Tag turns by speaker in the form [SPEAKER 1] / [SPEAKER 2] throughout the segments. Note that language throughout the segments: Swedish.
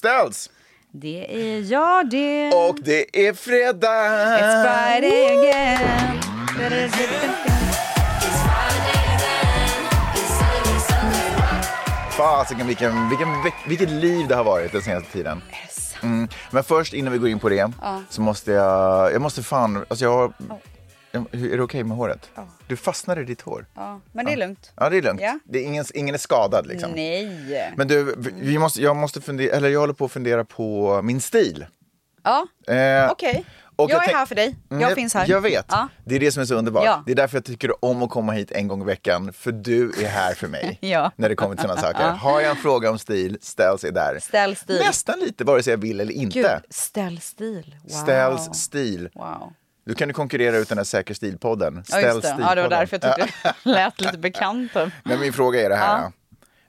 [SPEAKER 1] ställs.
[SPEAKER 2] Det är jag det.
[SPEAKER 1] Och det är fredag!
[SPEAKER 2] It's Friday again.
[SPEAKER 1] Fasiken vilken, vilken, veck- vilket liv det har varit den senaste tiden. Mm. Men först innan vi går in på det så måste jag, jag måste fan, alltså jag har, jag- hur- är det okej med håret? Du fastnade i ditt hår.
[SPEAKER 2] Ja, men det är lugnt.
[SPEAKER 1] Ja det är lugnt,
[SPEAKER 2] Ja.
[SPEAKER 1] det är ingen, ingen är skadad liksom.
[SPEAKER 2] Nej.
[SPEAKER 1] Men du, vi- vi måste, jag, måste fundera, eller jag håller på att fundera på min stil.
[SPEAKER 2] Ja,
[SPEAKER 1] Eh,
[SPEAKER 2] okej.
[SPEAKER 1] och
[SPEAKER 2] Jag,
[SPEAKER 1] jag
[SPEAKER 2] är
[SPEAKER 1] tänk-
[SPEAKER 2] här för dig.
[SPEAKER 1] Mm,
[SPEAKER 2] Jag finns här.
[SPEAKER 1] Jag vet.
[SPEAKER 2] Ja.
[SPEAKER 1] Det är det som är så underbart.
[SPEAKER 2] Ja.
[SPEAKER 1] Det är därför jag tycker om att komma hit en gång i veckan. För du är här för mig.
[SPEAKER 2] Ja.
[SPEAKER 1] När det kommer till sådana saker. Har jag en fråga om stil, ställ sig där.
[SPEAKER 2] Ställ stil.
[SPEAKER 1] Nästan lite, vare sig jag vill eller
[SPEAKER 2] Gud,
[SPEAKER 1] inte.
[SPEAKER 2] ställ stil. Wow.
[SPEAKER 1] Ställs stil.
[SPEAKER 2] Wow.
[SPEAKER 1] Du kan du konkurrera ut den här Säker stil-podden.
[SPEAKER 2] Ja,
[SPEAKER 1] Ställ
[SPEAKER 2] just det. Ja, det var därför jag
[SPEAKER 1] Ja.
[SPEAKER 2] tyckte det lät lite bekant.
[SPEAKER 1] Men min fråga är det här.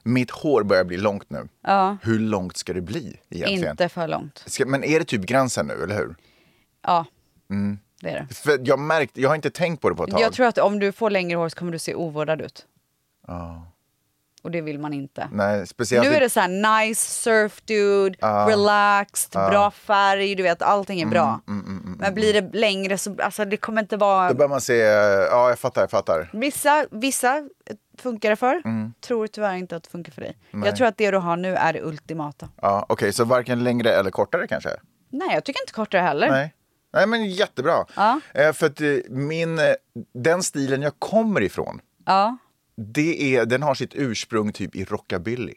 [SPEAKER 1] Mitt hår börjar bli långt nu.
[SPEAKER 2] Ja.
[SPEAKER 1] Hur långt ska det bli egentligen?
[SPEAKER 2] Inte för långt.
[SPEAKER 1] Ska, men är det typ gränsen nu, eller hur?
[SPEAKER 2] Ja,
[SPEAKER 1] Mm.
[SPEAKER 2] det är det.
[SPEAKER 1] För jag, märkt, jag har inte tänkt på det på ett tag.
[SPEAKER 2] Jag tror att om du får längre hår så kommer du se ovårdad ut. Och det vill man inte.
[SPEAKER 1] Nej, speciellt
[SPEAKER 2] Nu är
[SPEAKER 1] inte-
[SPEAKER 2] det så här nice surf dude, relaxed, bra färg, du vet allting är bra. Men blir det längre så alltså, det kommer inte vara...
[SPEAKER 1] Då börjar man se, ja jag fattar, jag fattar.
[SPEAKER 2] Vissa, vissa funkar det för, tror tyvärr inte att det funkar för dig. Jag tror att det du har nu är det ultimata.
[SPEAKER 1] Ja, Okej, så varken längre eller kortare kanske?
[SPEAKER 2] Nej, jag tycker inte kortare heller.
[SPEAKER 1] Nej. Nej, men jättebra.
[SPEAKER 2] Ja.
[SPEAKER 1] Eh, för att eh, min, eh, den stilen jag kommer ifrån,
[SPEAKER 2] Ja.
[SPEAKER 1] det är, den har sitt ursprung typ i rockabilly.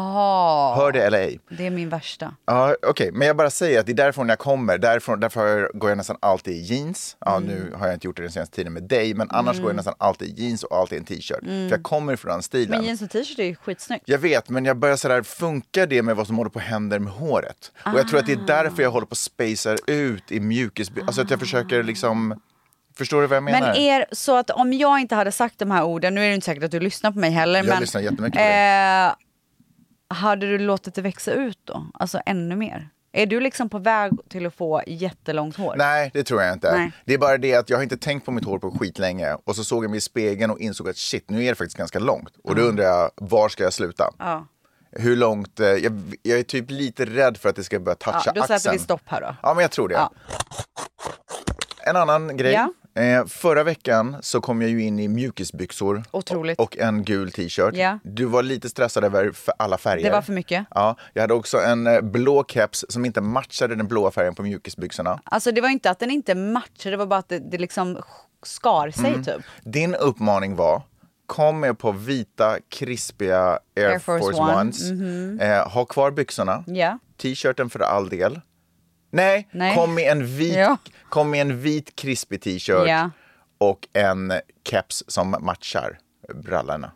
[SPEAKER 2] Jaha,
[SPEAKER 1] Hör det eller ej.
[SPEAKER 2] det är min värsta.
[SPEAKER 1] Ja, Okej, men jag bara säger att det är därifrån jag kommer. Därifrån, därför har jag- går jag nästan alltid i jeans. Ja,
[SPEAKER 2] Mm.
[SPEAKER 1] Nu har jag inte gjort det den senaste tiden med dig, men annars går jag nästan alltid i jeans och alltid i en t-shirt. För jag kommer ifrån den stilen.
[SPEAKER 2] Mm. Men jeans och t-shirt är ju skitsnyggt.
[SPEAKER 1] Jag vet, men jag börjar sådär, funkar det med vad som håller på att hända med håret? Och jag tror att det
[SPEAKER 2] Ah.
[SPEAKER 1] är därför jag håller på att spacar ut i mjukis... Alltså att jag försöker liksom... Förstår du vad jag menar?
[SPEAKER 2] Ah. Men är så att om jag inte hade sagt de här orden, nu är det inte säkert att du lyssnar på mig heller.
[SPEAKER 1] Jag
[SPEAKER 2] men,
[SPEAKER 1] lyssnar jättemycket på
[SPEAKER 2] eh, Hade du låtit det växa ut då? Alltså ännu mer? Är du liksom på väg till att få jättelångt hår?
[SPEAKER 1] Nej, det tror jag inte.
[SPEAKER 2] Nej.
[SPEAKER 1] Det är bara det att jag har inte tänkt på mitt hår på skitlänge. Och så såg jag mig i spegeln och insåg att shit, nu är det faktiskt ganska långt. Och
[SPEAKER 2] Ah.
[SPEAKER 1] då undrar jag, var ska jag sluta?
[SPEAKER 2] Ja.
[SPEAKER 1] Hur långt? eh, Jag, jag är typ lite rädd för att det ska börja toucha
[SPEAKER 2] Ja, Ah, då
[SPEAKER 1] axeln.
[SPEAKER 2] sätter vi stopp här då.
[SPEAKER 1] Ja, men jag tror det.
[SPEAKER 2] Ja.
[SPEAKER 1] En annan grej.
[SPEAKER 2] Ja.
[SPEAKER 1] Eh, förra veckan så kom jag ju in i mjukisbyxor
[SPEAKER 2] Otroligt.
[SPEAKER 1] och en gul t-shirt.
[SPEAKER 2] Ja.
[SPEAKER 1] Du var lite stressad över för alla färger.
[SPEAKER 2] Det var för mycket.
[SPEAKER 1] Ja, jag hade också en eh, blå keps som inte matchade den blåa färgen på mjukisbyxorna.
[SPEAKER 2] Alltså det var inte att den inte matchade, det var bara att det, det liksom skar sig
[SPEAKER 1] Mm.
[SPEAKER 2] typ.
[SPEAKER 1] Din uppmaning var Kom med på vita, krispiga Air,
[SPEAKER 2] Air Force
[SPEAKER 1] Force,
[SPEAKER 2] One. Mhm.
[SPEAKER 1] Ones. Eh, ha kvar byxorna.
[SPEAKER 2] Ja.
[SPEAKER 1] T-shirten för all del. Nej,
[SPEAKER 2] Nej.
[SPEAKER 1] Kom, med en vit,
[SPEAKER 2] Ja.
[SPEAKER 1] kom med en vit krispig t-shirt
[SPEAKER 2] Ja.
[SPEAKER 1] och en keps som matchar brallorna.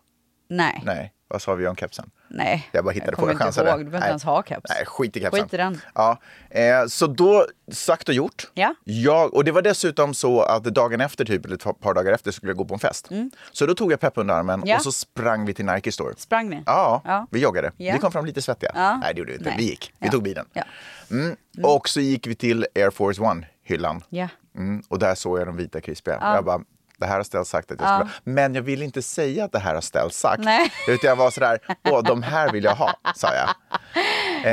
[SPEAKER 2] Nej. Nej.
[SPEAKER 1] Nej, vad sa vi om kepsen?
[SPEAKER 2] Nej.
[SPEAKER 1] Jag bara hittade på,
[SPEAKER 2] kommer
[SPEAKER 1] jag
[SPEAKER 2] inte
[SPEAKER 1] chansade.
[SPEAKER 2] ihåg. Du behöver inte
[SPEAKER 1] Nej.
[SPEAKER 2] ens ha keps.
[SPEAKER 1] Nej, skit i kepsen.
[SPEAKER 2] Skit i den.
[SPEAKER 1] Ja. Eh, så då, sagt och gjort.
[SPEAKER 2] Ja.
[SPEAKER 1] Jag, och det var dessutom så att dagen efter, typ, eller ett par- par dagar efter, skulle jag gå på en fest. Så då tog jag Peppe under armen
[SPEAKER 2] Mm. Ja.
[SPEAKER 1] och så sprang vi till Nike Store.
[SPEAKER 2] Sprang ni?
[SPEAKER 1] Ja,
[SPEAKER 2] Ja.
[SPEAKER 1] vi joggade.
[SPEAKER 2] Ja.
[SPEAKER 1] Vi kom fram lite svettiga.
[SPEAKER 2] Ja.
[SPEAKER 1] Nej, det gjorde vi inte.
[SPEAKER 2] Nej.
[SPEAKER 1] Vi gick. Vi
[SPEAKER 2] Ja.
[SPEAKER 1] tog bilen.
[SPEAKER 2] Ja.
[SPEAKER 1] Mm. Och så gick vi till Air Force One-hyllan.
[SPEAKER 2] Ja.
[SPEAKER 1] Mm. Och där såg jag de vita krispiga. Jag bara, det här har Stell sagt att jag skulle ha. Men jag vill inte säga att det här har Stell sagt.
[SPEAKER 2] Nej.
[SPEAKER 1] Utan jag var sådär, åh, de här vill jag ha, sa jag.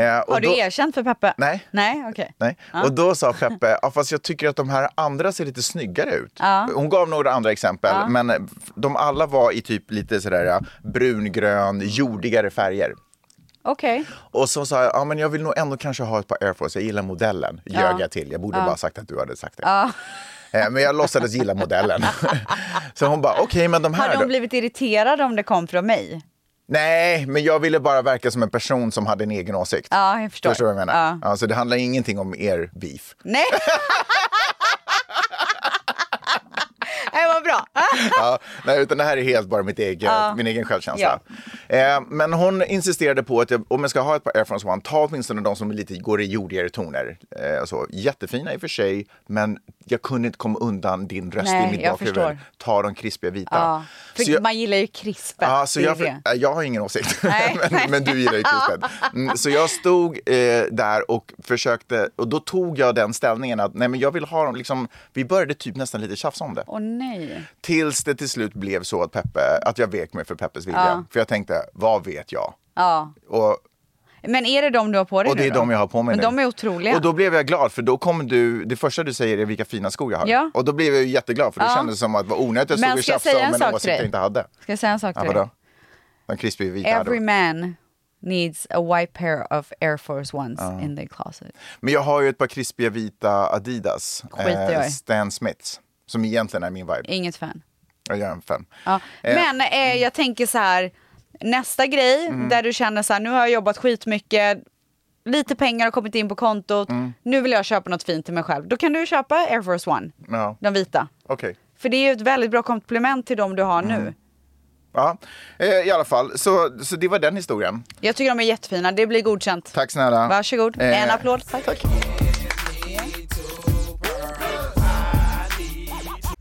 [SPEAKER 1] Eh, och
[SPEAKER 2] Har du
[SPEAKER 1] då-
[SPEAKER 2] erkänt för Peppe?
[SPEAKER 1] Nej.
[SPEAKER 2] Nej, okej.
[SPEAKER 1] Nej. Och då sa Peppe, ja, fast jag tycker att de här andra ser lite snyggare ut. Hon gav några andra exempel, men eh, de alla var i typ lite sådär ja, brungrön, jordigare färger.
[SPEAKER 2] Okej.
[SPEAKER 1] Och så sa jag, ja men jag vill nog ändå kanske ha ett par Air Force, jag gillar modellen. Ljög jag till, jag borde bara sagt att du hade sagt det. Eh, Men jag låtsades gilla modellen. så hon bara, okej men de här
[SPEAKER 2] Hade
[SPEAKER 1] då?
[SPEAKER 2] hon blivit irriterad om det kom från mig?
[SPEAKER 1] Nej, men jag ville bara verka som en person som hade en egen åsikt.
[SPEAKER 2] Ja, jag förstår.
[SPEAKER 1] Förstår du vad jag menar?
[SPEAKER 2] Ja.
[SPEAKER 1] Ja. Alltså, det handlar ingenting om er beef.
[SPEAKER 2] Nej! Nej, vad bra.
[SPEAKER 1] ja, nej, utan det här är helt bara mitt eget, min egen självkänsla. Eh, men hon insisterade på att jag, om jag ska ha ett par Air Force One, ta åtminstone de som lite går i jordigare toner. Eh, så, jättefina i och för sig, men jag kunde inte komma undan din röst
[SPEAKER 2] Nej,
[SPEAKER 1] i mitt
[SPEAKER 2] jag
[SPEAKER 1] bakhuvud.
[SPEAKER 2] förstår.
[SPEAKER 1] Ta de krispiga vita.
[SPEAKER 2] Ja. För
[SPEAKER 1] Så jag-
[SPEAKER 2] man gillar ju krispet.
[SPEAKER 1] Ja, så
[SPEAKER 2] det är
[SPEAKER 1] jag,
[SPEAKER 2] ju det.
[SPEAKER 1] för, jag har ingen åsikt,
[SPEAKER 2] Nej.
[SPEAKER 1] men, men du gillar ju krispet. Mm, så jag stod eh, där och försökte, och då tog jag den ställningen att nej men jag vill ha dem, liksom, vi började typ nästan lite tjafsa om det.
[SPEAKER 2] Åh nej.
[SPEAKER 1] Tills det till slut blev så att, Peppe, att jag vek mig för Peppes vilja. För jag tänkte, vad vet jag?
[SPEAKER 2] Ja.
[SPEAKER 1] Och,
[SPEAKER 2] Men är det de du har på dig
[SPEAKER 1] Och det
[SPEAKER 2] nu
[SPEAKER 1] är
[SPEAKER 2] då?
[SPEAKER 1] de jag har på mig
[SPEAKER 2] Men
[SPEAKER 1] nu.
[SPEAKER 2] de är otroliga.
[SPEAKER 1] Och då blev jag glad för då kom du, det första du säger är vilka fina skor jag har.
[SPEAKER 2] Ja.
[SPEAKER 1] Och då blev jag ju jätteglad för då
[SPEAKER 2] Ja.
[SPEAKER 1] kändes det som att det var onödigt att jag
[SPEAKER 2] Men
[SPEAKER 1] stod och
[SPEAKER 2] ska
[SPEAKER 1] tjafsade
[SPEAKER 2] jag
[SPEAKER 1] om
[SPEAKER 2] säga en
[SPEAKER 1] en
[SPEAKER 2] sak
[SPEAKER 1] åsikt
[SPEAKER 2] till dig?
[SPEAKER 1] jag inte hade.
[SPEAKER 2] Ska jag säga en sak
[SPEAKER 1] Ja,
[SPEAKER 2] till dig?
[SPEAKER 1] vadå? De krispiga vita. hade
[SPEAKER 2] Every man needs a white pair of Air Force Ones in the closet.
[SPEAKER 1] Men jag har ju ett par krispiga vita Adidas. eh,
[SPEAKER 2] Skiter jag i.
[SPEAKER 1] Stan Smiths. Som egentligen är min vibe.
[SPEAKER 2] Inget fan.
[SPEAKER 1] Jag gör en fem.
[SPEAKER 2] Ja. Men eh, jag tänker så här, nästa grej
[SPEAKER 1] Mm.
[SPEAKER 2] där du känner så här, nu har jag jobbat skitmycket, lite pengar har kommit in på kontot,
[SPEAKER 1] Mm.
[SPEAKER 2] nu vill jag köpa något fint till mig själv. Då kan du köpa Air Force One,
[SPEAKER 1] Ja,
[SPEAKER 2] de vita.
[SPEAKER 1] okej.
[SPEAKER 2] För det är ju ett väldigt bra komplement till de du har
[SPEAKER 1] Mm.
[SPEAKER 2] nu.
[SPEAKER 1] Ja, eh, i alla fall. Så, så det var den historien.
[SPEAKER 2] Jag tycker de är jättefina, det blir godkänt.
[SPEAKER 1] Tack snälla.
[SPEAKER 2] Varsågod,
[SPEAKER 1] Eh,
[SPEAKER 2] en applåd. Tack.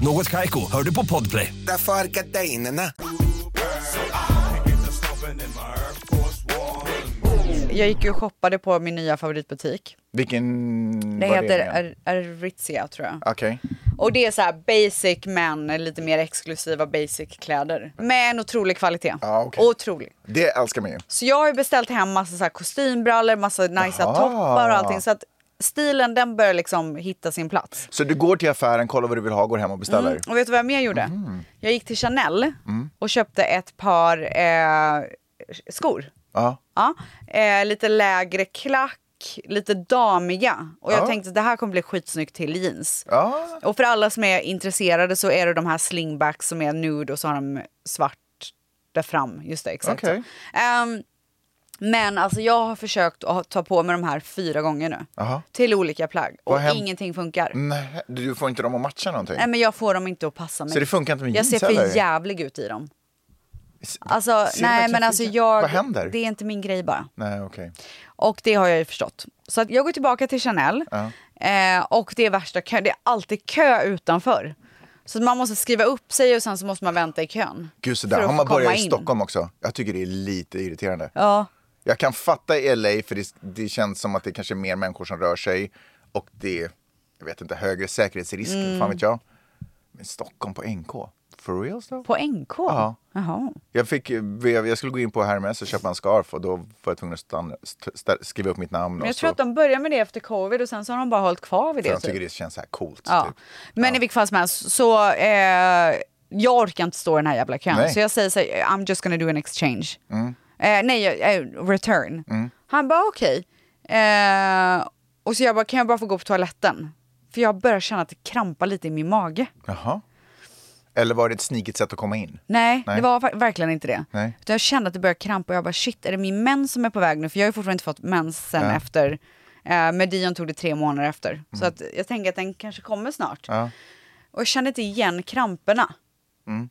[SPEAKER 3] Något Kaiko, hör du på Podplay.
[SPEAKER 4] Därför är gardinerna.
[SPEAKER 2] Jag gick ju och shoppade på min nya favoritbutik.
[SPEAKER 1] Vilken...
[SPEAKER 2] Det
[SPEAKER 1] var
[SPEAKER 2] heter
[SPEAKER 1] igen?
[SPEAKER 2] Ar- Aritzia tror jag.
[SPEAKER 1] Okej.
[SPEAKER 2] Och det är så här basic men lite mer exklusiva basic kläder. Med en otrolig kvalitet.
[SPEAKER 1] Ja, okej.
[SPEAKER 2] Otrolig.
[SPEAKER 1] Det älskar man ju.
[SPEAKER 2] Så jag har ju beställt hem massa så här kostymbrallor, massa nice
[SPEAKER 1] Jaha.
[SPEAKER 2] toppar och allting. Så att stilen den börjar liksom hitta sin plats. Mm.
[SPEAKER 1] Så du går till affären, kollar vad du vill ha, går hem och beställer.
[SPEAKER 2] Och vet du vad jag mer gjorde?
[SPEAKER 1] Mhm.
[SPEAKER 2] Jag gick till Chanel
[SPEAKER 1] Mm.
[SPEAKER 2] och köpte ett par eh, skor.
[SPEAKER 1] Ja.
[SPEAKER 2] Ja, eh, lite lägre klack, lite damiga. Och jag tänkte att det här kommer bli skitsnyggt till jeans.
[SPEAKER 1] Ja.
[SPEAKER 2] Och för alla som är intresserade så är det de här slingbacks som är nude och så har de svart där fram. Just det, exakt.
[SPEAKER 1] Okej.
[SPEAKER 2] Ehm, men alltså jag har försökt att ta på mig de här fyra gånger nu.
[SPEAKER 1] Aha.
[SPEAKER 2] Till olika plagg.
[SPEAKER 1] Vad Mm.
[SPEAKER 2] Och
[SPEAKER 1] hem-
[SPEAKER 2] ingenting funkar.
[SPEAKER 1] Nej, du får inte dem att matcha någonting.
[SPEAKER 2] Nej men jag får dem inte att passa mig.
[SPEAKER 1] Så det funkar inte med
[SPEAKER 2] jag
[SPEAKER 1] jeans
[SPEAKER 2] ser för
[SPEAKER 1] heller?
[SPEAKER 2] jävlig ut i dem.
[SPEAKER 1] S-
[SPEAKER 2] Alltså,
[SPEAKER 1] ser det
[SPEAKER 2] nej
[SPEAKER 1] verkligen
[SPEAKER 2] men alltså
[SPEAKER 1] funkar?
[SPEAKER 2] jag...
[SPEAKER 1] Vad händer?
[SPEAKER 2] Det är inte min grej bara.
[SPEAKER 1] Nej, okej.
[SPEAKER 2] Och det har jag ju förstått. Så att jag går tillbaka till Chanel eh, och det är värsta kö. Det är alltid kö utanför. Så att man måste skriva upp sig och sen så måste man vänta i kön.
[SPEAKER 1] Gud, så där
[SPEAKER 2] för att
[SPEAKER 1] har man
[SPEAKER 2] få komma
[SPEAKER 1] börjat i
[SPEAKER 2] in.
[SPEAKER 1] Stockholm också. Jag tycker det är lite irriterande.
[SPEAKER 2] Ja.
[SPEAKER 1] Jag kan fatta i LA, för det, det känns som att det kanske är mer människor som rör sig och det är, jag vet inte, högre säkerhetsrisk,
[SPEAKER 2] Mm.
[SPEAKER 1] fan vet jag. Men Stockholm på NK, for real though?
[SPEAKER 2] På NK?
[SPEAKER 1] Ja.
[SPEAKER 2] Jaha.
[SPEAKER 1] Jag, fick, jag skulle gå in på Hermes och köpa en scarf och då var jag tvungen att stanna, st- st- skriva upp mitt namn.
[SPEAKER 2] Men
[SPEAKER 1] och
[SPEAKER 2] jag
[SPEAKER 1] så,
[SPEAKER 2] tror att de började med det efter covid och sen så har de bara hållit kvar vid
[SPEAKER 1] för
[SPEAKER 2] det.
[SPEAKER 1] de tycker det känns så här coolt.
[SPEAKER 2] Ja.
[SPEAKER 1] Typ.
[SPEAKER 2] Men i vilket fall som helst så eh, jag orkar inte stå i den här jävla kön.
[SPEAKER 1] Nej. Mm.
[SPEAKER 2] Så jag säger så här, I'm just gonna do an exchange. Eh, nej, eh, return. Han bara okej. Eh, och så jag bara, kan jag bara få gå på toaletten? För jag börjar känna att det krampar lite i min mage.
[SPEAKER 1] Jaha. Eller var det ett sniket sätt att komma in?
[SPEAKER 2] Nej,
[SPEAKER 1] Nej.
[SPEAKER 2] det var ver- verkligen inte det.
[SPEAKER 1] Nej.
[SPEAKER 2] Utan jag kände att det började krampa och jag bara shit, är det min mens som är på väg nu? För jag har ju fortfarande inte fått mens sen efter. Eh, med Dion tog det tre månader efter. Så
[SPEAKER 1] Mm.
[SPEAKER 2] att jag tänker att den kanske kommer snart.
[SPEAKER 1] Ja.
[SPEAKER 2] Och jag kände inte igen kramperna.
[SPEAKER 1] Mm.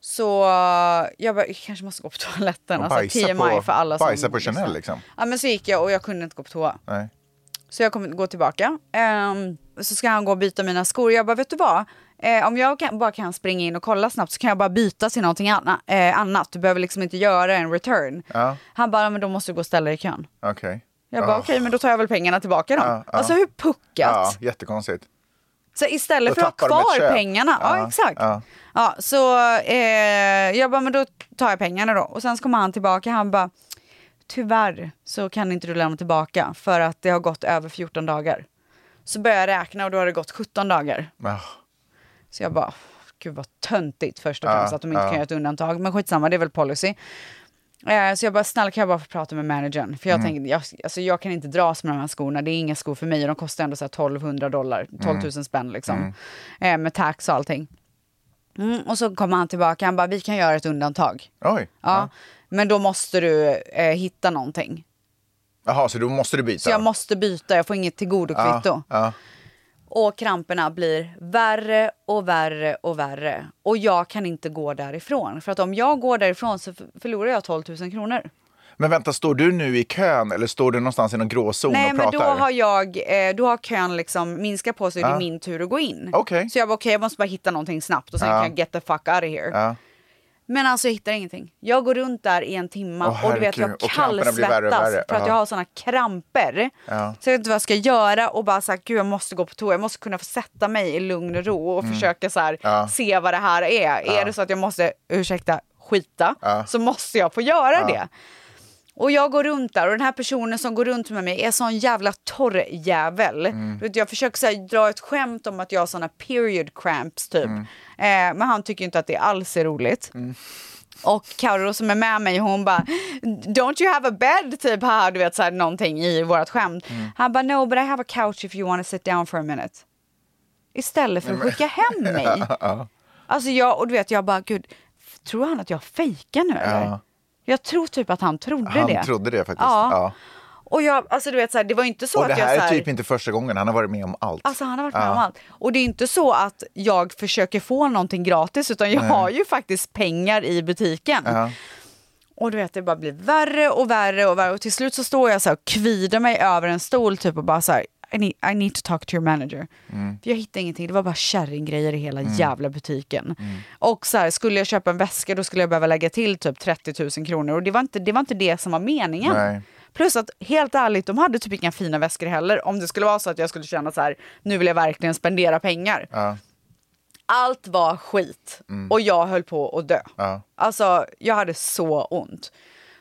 [SPEAKER 2] Så eh, jag bara, jag kanske måste gå på toaletten.
[SPEAKER 1] Och
[SPEAKER 2] Alltså
[SPEAKER 1] bajsa
[SPEAKER 2] TMI
[SPEAKER 1] på-
[SPEAKER 2] för alla som
[SPEAKER 1] bajsa på Chanel,
[SPEAKER 2] lyssnar.
[SPEAKER 1] liksom.
[SPEAKER 2] Ja men så gick jag och jag kunde inte gå på toa.
[SPEAKER 1] Nej.
[SPEAKER 2] Så jag kommer gå tillbaka. Ehm, så ska han gå och byta mina skor. Jag bara, vet du vad? Eh, om jag kan, bara kan springa in och kolla snabbt så kan jag bara byta till någonting anna, eh, annat. Du behöver liksom inte göra en return.
[SPEAKER 1] Ja.
[SPEAKER 2] Han bara, men då måste du gå och ställa dig i kön.
[SPEAKER 1] Okej.
[SPEAKER 2] Jag bara,
[SPEAKER 1] Ja.
[SPEAKER 2] okej, men då tar jag väl pengarna tillbaka då.
[SPEAKER 1] Ja, ja.
[SPEAKER 2] Alltså hur puckat?
[SPEAKER 1] Ja, jättekonstigt.
[SPEAKER 2] Så
[SPEAKER 1] Då
[SPEAKER 2] istället för att
[SPEAKER 1] tappar
[SPEAKER 2] ha
[SPEAKER 1] de ett
[SPEAKER 2] kvar
[SPEAKER 1] köp.
[SPEAKER 2] pengarna. Ja,
[SPEAKER 1] Ja,
[SPEAKER 2] exakt. Ja.
[SPEAKER 1] ja.
[SPEAKER 2] så eh, jag bara, men då tar jag pengarna då. Och sen så kommer han tillbaka. Han bara, tyvärr så kan inte du lämna tillbaka för att det har gått över 14 dagar. Så börjar jag räkna och då har det gått 17 dagar.
[SPEAKER 1] Ja.
[SPEAKER 2] Så jag bara, gud vad töntigt först och
[SPEAKER 1] Ja,
[SPEAKER 2] främst att de inte
[SPEAKER 1] ja.
[SPEAKER 2] kan göra ett undantag. Men skitsamma, det är väl policy. Eh, Så jag bara, snälla kan jag bara få prata med managern? För
[SPEAKER 1] Mm.
[SPEAKER 2] jag tänkte, jag, alltså jag kan inte dras med de här skorna, det är inga skor för mig och de kostar ändå så här 1200 dollar,
[SPEAKER 1] Mm.
[SPEAKER 2] 12 000 spänn liksom. Eh, Med tax och allting. Mm, och så kommer han tillbaka, han bara, vi kan göra ett undantag.
[SPEAKER 1] Oj.
[SPEAKER 2] Ja, Men då måste du eh, hitta någonting.
[SPEAKER 1] Jaha, så då måste du byta?
[SPEAKER 2] Så jag måste byta, jag får inget tillgodokvitto.
[SPEAKER 1] Ja, ja.
[SPEAKER 2] Och kramperna blir värre och värre och värre. Och jag kan inte gå därifrån. För att om jag går därifrån så f- förlorar jag 12 000 kronor.
[SPEAKER 1] Men vänta, står du nu i kön eller står du någonstans i någon gråzon
[SPEAKER 2] Nej,
[SPEAKER 1] och
[SPEAKER 2] men då
[SPEAKER 1] pratar?
[SPEAKER 2] har, jag, eh, då har kön liksom minskat på så är det
[SPEAKER 1] Ja.
[SPEAKER 2] min tur att gå in.
[SPEAKER 1] Okej. Ah.
[SPEAKER 2] Så jag bara, okej, jag måste bara hitta någonting snabbt och sen
[SPEAKER 1] Ja.
[SPEAKER 2] kan jag get the fuck out of here.
[SPEAKER 1] Ja.
[SPEAKER 2] Men alltså jag hittar ingenting. Jag går runt där i en timme
[SPEAKER 1] Åh,
[SPEAKER 2] och du vet
[SPEAKER 1] herregud.
[SPEAKER 2] jag
[SPEAKER 1] Och kramperna blir värre och
[SPEAKER 2] kallsvettas
[SPEAKER 1] värre.
[SPEAKER 2] för att
[SPEAKER 1] Ja.
[SPEAKER 2] jag har såna kramper.
[SPEAKER 1] Ja.
[SPEAKER 2] Så jag vet inte vad jag ska göra och bara såhär, gud jag måste gå på toa. Jag måste kunna få sätta mig i lugn och ro och försöka så här,
[SPEAKER 1] Mm. Ja.
[SPEAKER 2] se vad det här är. Är det så att jag måste, ursäkta, skita
[SPEAKER 1] Ja.
[SPEAKER 2] så måste jag få göra det. Och jag går runt där och den här personen som går runt med mig är sån jävla torr jävel.
[SPEAKER 1] Mm.
[SPEAKER 2] Du vet, Jag försöker så här, dra ett skämt om att jag har såna period cramps typ.
[SPEAKER 1] Mm.
[SPEAKER 2] Eh, men han tycker ju inte att det alls är roligt. Och Karo som är med mig, hon bara “Don't you have a bed?” typ här, du vet så här, någonting i vårt skämt.
[SPEAKER 1] Mm.
[SPEAKER 2] Han bara “No, but I have a couch if you wanna sit down for a minute”. Istället för att skicka hem mig. Alltså jag, och du vet jag bara “Gud, tror han att jag fejkar nu eller?”
[SPEAKER 1] Ja.
[SPEAKER 2] Jag tror typ att han trodde
[SPEAKER 1] Han
[SPEAKER 2] det.
[SPEAKER 1] trodde det faktiskt.
[SPEAKER 2] Ja.
[SPEAKER 1] Ja.
[SPEAKER 2] Och jag, alltså du vet så här, det var inte så
[SPEAKER 1] Och
[SPEAKER 2] att
[SPEAKER 1] det
[SPEAKER 2] jag
[SPEAKER 1] här
[SPEAKER 2] så
[SPEAKER 1] är
[SPEAKER 2] här,
[SPEAKER 1] typ inte första gången, han har varit med om allt.
[SPEAKER 2] Alltså han har varit med
[SPEAKER 1] Ja.
[SPEAKER 2] om allt. Och det är inte så att jag försöker få någonting gratis utan jag har ju faktiskt pengar i butiken.
[SPEAKER 1] Ja.
[SPEAKER 2] Och du vet det bara blir värre och värre och värre och till slut så står jag så här och kvider mig över en stol typ och bara så här I need, I need to talk to your manager. För jag hittade ingenting, det var bara kärringgrejer i hela jävla butiken. Och så här, skulle jag köpa en väska då skulle jag behöva lägga till typ 30 000 kronor och det var inte det, var inte det som var meningen.
[SPEAKER 1] Nej.
[SPEAKER 2] Plus att helt ärligt, de hade typ inga fina väskor heller. Om det skulle vara så att jag skulle känna så här, nu vill jag verkligen spendera pengar.
[SPEAKER 1] Ja.
[SPEAKER 2] Allt var skit och jag höll på att dö.
[SPEAKER 1] Ja.
[SPEAKER 2] Alltså, jag hade så ont.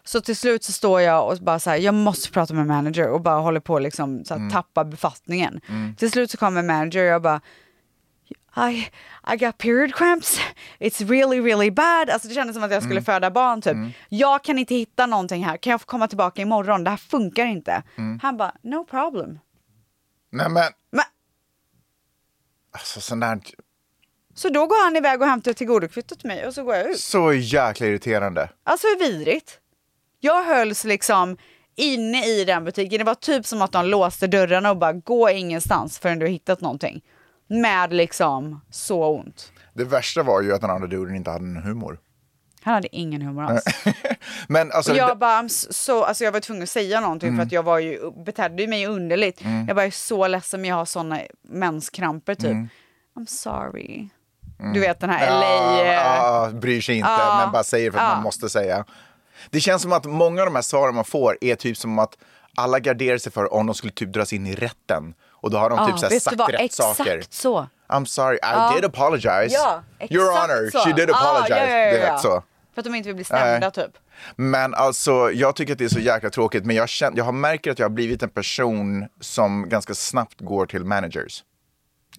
[SPEAKER 2] Så till slut så står jag och bara så här, jag måste prata med manager och bara håller på att liksom så här, tappa befattningen. Till slut så kommer manager och jag bara, I, I got period cramps, it's really really bad. Alltså det kändes som att jag skulle föda barn typ. Jag kan inte hitta någonting här, kan jag få komma tillbaka imorgon? Det här funkar inte. Han bara, no problem.
[SPEAKER 1] Nej men,
[SPEAKER 2] Men,
[SPEAKER 1] alltså sån där...
[SPEAKER 2] så då går han iväg och hämtar tillgodokvittot till mig och så går jag ut.
[SPEAKER 1] Så jäkla irriterande.
[SPEAKER 2] Alltså hur vidrigt? Jag hölls liksom inne i den butiken. Det var typ som att de låste dörrarna och bara gå ingenstans förrän du har hittat någonting. Med liksom så ont.
[SPEAKER 1] Det värsta var ju att den andra duden inte hade någon humor.
[SPEAKER 2] Han hade ingen humor alls.
[SPEAKER 1] Men alltså,
[SPEAKER 2] Och
[SPEAKER 1] det- Mm.
[SPEAKER 2] jag bara, I'm s- så, alltså jag var tvungen att säga någonting för att jag var ju, betedde ju mig underligt. Jag bara, jag är så ledsen men jag har såna menskramper typ.
[SPEAKER 1] Mm.
[SPEAKER 2] I'm sorry. Du vet den här LA... eh,
[SPEAKER 1] Ja, ja, bryr sig inte,
[SPEAKER 2] Ja.
[SPEAKER 1] men bara säger för att
[SPEAKER 2] Ja.
[SPEAKER 1] man måste säga. Det känns som att många av de här svaren man får är typ som att alla garderar sig för om de skulle typ dras in i rätten. Och då har de
[SPEAKER 2] ja,
[SPEAKER 1] typ så här
[SPEAKER 2] vet du
[SPEAKER 1] sagt
[SPEAKER 2] vad?
[SPEAKER 1] rätt
[SPEAKER 2] Exakt
[SPEAKER 1] saker.
[SPEAKER 2] så.
[SPEAKER 1] I'm sorry, I
[SPEAKER 2] Ja.
[SPEAKER 1] did apologize.
[SPEAKER 2] Ja, exakt
[SPEAKER 1] Your honor,
[SPEAKER 2] så. Ah,
[SPEAKER 1] she did
[SPEAKER 2] Ja,
[SPEAKER 1] apologize.
[SPEAKER 2] ja, ja, ja,
[SPEAKER 1] Det är
[SPEAKER 2] ja.
[SPEAKER 1] rätt så.
[SPEAKER 2] För att de inte vill bli stämda typ.
[SPEAKER 1] Men alltså, jag tycker att det är så jäkla tråkigt. Men jag, känner, jag har märkt att jag har blivit en person som ganska snabbt går till managers.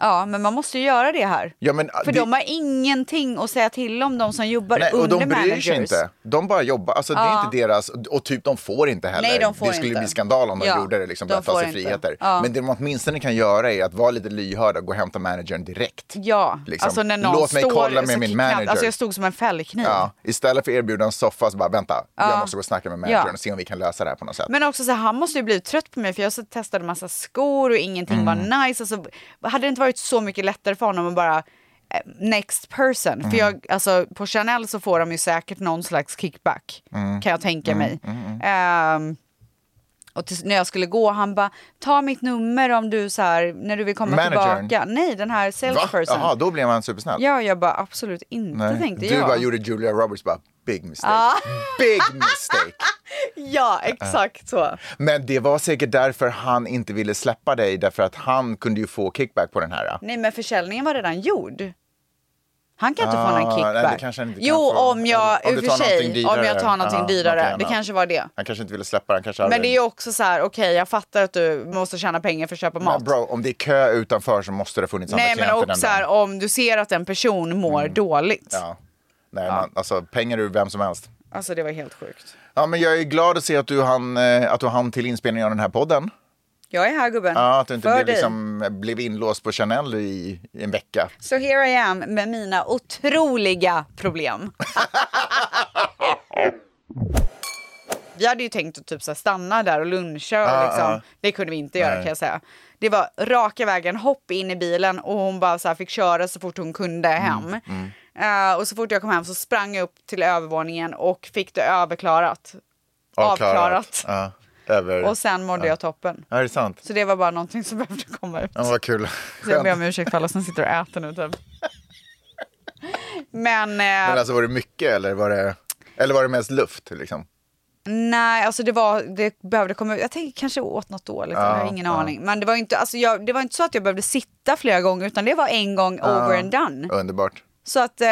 [SPEAKER 2] Ja, men man måste ju göra det här.
[SPEAKER 1] Ja, men,
[SPEAKER 2] För
[SPEAKER 1] det-
[SPEAKER 2] de har ingenting att säga till om, de som jobbar
[SPEAKER 1] Nej,
[SPEAKER 2] under
[SPEAKER 1] och de bryr
[SPEAKER 2] managers.
[SPEAKER 1] sig inte. De bara jobbar. Alltså, Det är
[SPEAKER 2] Ja.
[SPEAKER 1] inte deras, och typ de får inte heller.
[SPEAKER 2] Nej, de får
[SPEAKER 1] det skulle
[SPEAKER 2] inte.
[SPEAKER 1] bli skandal om de
[SPEAKER 2] Ja,
[SPEAKER 1] gjorde det, liksom,
[SPEAKER 2] de
[SPEAKER 1] börja ta
[SPEAKER 2] får
[SPEAKER 1] sig
[SPEAKER 2] inte.
[SPEAKER 1] friheter.
[SPEAKER 2] Ja.
[SPEAKER 1] Men det de åtminstone kan göra är att vara lite lyhörda och gå och hämta managern direkt.
[SPEAKER 2] Ja,
[SPEAKER 1] Liksom.
[SPEAKER 2] alltså när någon
[SPEAKER 1] Låt mig
[SPEAKER 2] står,
[SPEAKER 1] kolla med
[SPEAKER 2] så
[SPEAKER 1] min
[SPEAKER 2] knappt-
[SPEAKER 1] manager.
[SPEAKER 2] Alltså jag stod som en fällkniv.
[SPEAKER 1] Ja, istället för att erbjuda en soffa så bara vänta, jag måste gå och snacka med managern
[SPEAKER 2] Ja.
[SPEAKER 1] och se om vi kan lösa det här på något sätt.
[SPEAKER 2] Men också så här, han måste ju bli trött på mig för jag så testade massa skor och ingenting
[SPEAKER 1] Mm.
[SPEAKER 2] var nice. Alltså, hade det inte varit så mycket lättare för honom att bara eh, next person. För
[SPEAKER 1] Mm.
[SPEAKER 2] jag, alltså, på Chanel så får de ju säkert någon slags kickback
[SPEAKER 1] Mm.
[SPEAKER 2] kan jag tänka mig. Ehm, och tills, när jag skulle gå, han bara, ta mitt nummer om du så här, när du vill komma
[SPEAKER 1] Managern?
[SPEAKER 2] tillbaka. Nej, den här
[SPEAKER 1] Va?
[SPEAKER 2] salesperson.
[SPEAKER 1] Jaha, då blev man supersnäll.
[SPEAKER 2] Ja, jag bara absolut inte
[SPEAKER 1] Nej.
[SPEAKER 2] tänkte
[SPEAKER 1] du
[SPEAKER 2] jag.
[SPEAKER 1] bara gjorde Julia Roberts bara, big mistake. Big mistake.
[SPEAKER 2] Ja, exakt så.
[SPEAKER 1] Men det var säkert därför han inte ville släppa dig, därför att han kunde ju få kickback på den här.
[SPEAKER 2] Nej, men försäljningen var redan gjord. Han kan inte
[SPEAKER 1] Ah,
[SPEAKER 2] få någon kickback.
[SPEAKER 1] nej, det kanske han inte kan
[SPEAKER 2] jo,
[SPEAKER 1] få.
[SPEAKER 2] om jag,
[SPEAKER 1] Om
[SPEAKER 2] i
[SPEAKER 1] du
[SPEAKER 2] och för
[SPEAKER 1] tar någonting
[SPEAKER 2] sig,
[SPEAKER 1] dyrare.
[SPEAKER 2] om jag tar
[SPEAKER 1] Ja,
[SPEAKER 2] någonting
[SPEAKER 1] någonting
[SPEAKER 2] dyrare. Det
[SPEAKER 1] annat.
[SPEAKER 2] kanske var det.
[SPEAKER 1] Han kanske inte ville släppa den, kanske
[SPEAKER 2] Men det är ju också så här, okej, jag fattar att du måste tjäna pengar för att köpa mat.
[SPEAKER 1] Men bro, om det är kö utanför så måste det ha funnits
[SPEAKER 2] nej,
[SPEAKER 1] andra
[SPEAKER 2] men
[SPEAKER 1] klienter
[SPEAKER 2] också
[SPEAKER 1] den
[SPEAKER 2] så här,
[SPEAKER 1] dagen.
[SPEAKER 2] om du ser att en person mår dåligt.
[SPEAKER 1] Ja. Nej, Man, alltså pengar ur vem som helst.
[SPEAKER 2] Alltså det var helt sjukt.
[SPEAKER 1] Ja, men jag är glad att se att du hann, eh, att du hann till inspelningen av den här podden.
[SPEAKER 2] Jag är här gubben.
[SPEAKER 1] Ja, att du inte
[SPEAKER 2] för
[SPEAKER 1] blev,
[SPEAKER 2] dig.
[SPEAKER 1] liksom, blev inlåst på Chanel i, i en vecka.
[SPEAKER 2] Så here I am med mina otroliga problem. vi hade ju tänkt att typ så här stanna där och luncha. Och
[SPEAKER 1] Ah,
[SPEAKER 2] liksom.
[SPEAKER 1] ah.
[SPEAKER 2] Det kunde vi inte göra
[SPEAKER 1] Nej.
[SPEAKER 2] kan jag säga. Det var raka vägen, hopp in i bilen och hon bara så här fick köra så fort hon kunde
[SPEAKER 1] Mm,
[SPEAKER 2] hem. Eh, och så fort jag kom hem så sprang jag upp till övervåningen och fick det överklarat. avklarat.
[SPEAKER 1] Ja, över...
[SPEAKER 2] Och sen
[SPEAKER 1] Ah.
[SPEAKER 2] mådde jag toppen.
[SPEAKER 1] Ja, är det sant?
[SPEAKER 2] Så det var bara någonting som behövde komma ut.
[SPEAKER 1] Ja, vad kul.
[SPEAKER 2] Så jag ber om
[SPEAKER 1] Skönt.
[SPEAKER 2] ursäkt för alla som sitter och äter nu typ. Men, eh,
[SPEAKER 1] Men alltså var det mycket eller var det, eller var det mest luft? Liksom?
[SPEAKER 2] nej, alltså det, var, det behövde komma ut. Jag tänker kanske åt något dåligt, jag har ingen aning. Men det var, inte, alltså jag, det var inte så att jag behövde sitta flera gånger utan det var en gång over and done.
[SPEAKER 1] Underbart.
[SPEAKER 2] Så att eh,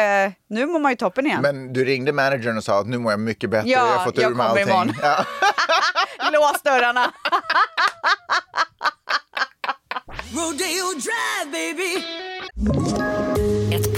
[SPEAKER 2] nu mår man ju toppen igen.
[SPEAKER 1] Men du ringde managern och sa att nu mår jag mycket bättre,
[SPEAKER 2] Ja,
[SPEAKER 1] jag har fått
[SPEAKER 2] jag
[SPEAKER 1] ur mig
[SPEAKER 2] kommer imorgon.
[SPEAKER 1] allting. Ja.
[SPEAKER 2] Lås dörrarna!
[SPEAKER 5] Ett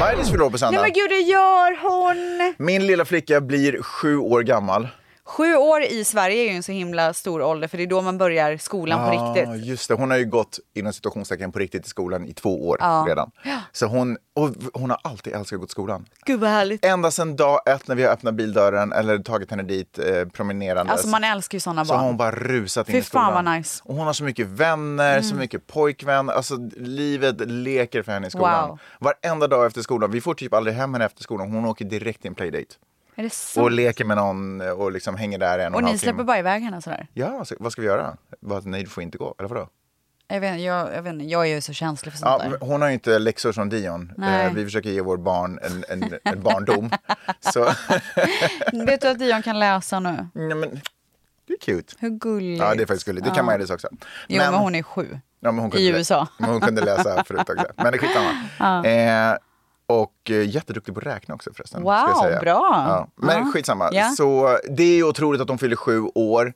[SPEAKER 1] Maj-Lis fyller år på
[SPEAKER 2] Nej
[SPEAKER 1] söndag.
[SPEAKER 2] men gud, det gör hon!
[SPEAKER 1] Min lilla flicka blir sju år gammal.
[SPEAKER 2] Sju år i Sverige är ju en så himla stor ålder för det är då man börjar skolan på
[SPEAKER 1] Ja,
[SPEAKER 2] riktigt.
[SPEAKER 1] Ah, just det. Hon har ju gått inom situationstecken på riktigt i skolan i två år redan. Så hon, och hon har alltid älskat att gå till skolan.
[SPEAKER 2] Gud vad härligt.
[SPEAKER 1] Ända sedan dag ett när vi har öppnat bildörren eller tagit henne dit eh, promenerandes.
[SPEAKER 2] Alltså man älskar ju sådana
[SPEAKER 1] så har hon
[SPEAKER 2] barn.
[SPEAKER 1] bara rusat in
[SPEAKER 2] Fy
[SPEAKER 1] i skolan.
[SPEAKER 2] fan vad nice. Mm.
[SPEAKER 1] Och hon har så mycket vänner, så mycket pojkvänner. Alltså livet leker för henne i skolan.
[SPEAKER 2] Wow.
[SPEAKER 1] Varenda dag efter skolan. Vi får typ aldrig hem henne efter skolan. Hon åker direkt till en playdate.
[SPEAKER 2] Är det
[SPEAKER 1] Och
[SPEAKER 2] sant?
[SPEAKER 1] leker med någon och liksom hänger där en och,
[SPEAKER 2] Och
[SPEAKER 1] en halv
[SPEAKER 2] ni släpper
[SPEAKER 1] timme.
[SPEAKER 2] bara iväg henne sådär?
[SPEAKER 1] Ja, så, vad ska vi göra? Bara, nej, du får inte gå. Eller vadå?
[SPEAKER 2] Jag vet, inte, jag, jag, vet, inte, jag är ju så känslig för sånt
[SPEAKER 1] Ja,
[SPEAKER 2] där.
[SPEAKER 1] men hon har ju inte läxor som Dion.
[SPEAKER 2] Nej.
[SPEAKER 1] Eh, Vi försöker ge vår barn en, en, en barndom. så,
[SPEAKER 2] Vet du att Dion kan läsa nu?
[SPEAKER 1] nej, men, det är cute.
[SPEAKER 2] Hur gulligt.
[SPEAKER 1] Ja, det är faktiskt gulligt. Det kan Maj-Lis också.
[SPEAKER 2] Jo, men, hon är sju.
[SPEAKER 1] ja, men hon kunde
[SPEAKER 2] i
[SPEAKER 1] lä-
[SPEAKER 2] USA.
[SPEAKER 1] Men hon kunde läsa förut också. Men det skitsamma. Eh, och eh, jätteduktig på att räkna också förresten. ska jag
[SPEAKER 2] Wow,
[SPEAKER 1] säga.
[SPEAKER 2] bra.
[SPEAKER 1] Ja. Men
[SPEAKER 2] Ja.
[SPEAKER 1] skitsamma.
[SPEAKER 2] Ja.
[SPEAKER 1] Så det är ju otroligt att hon fyller sju år.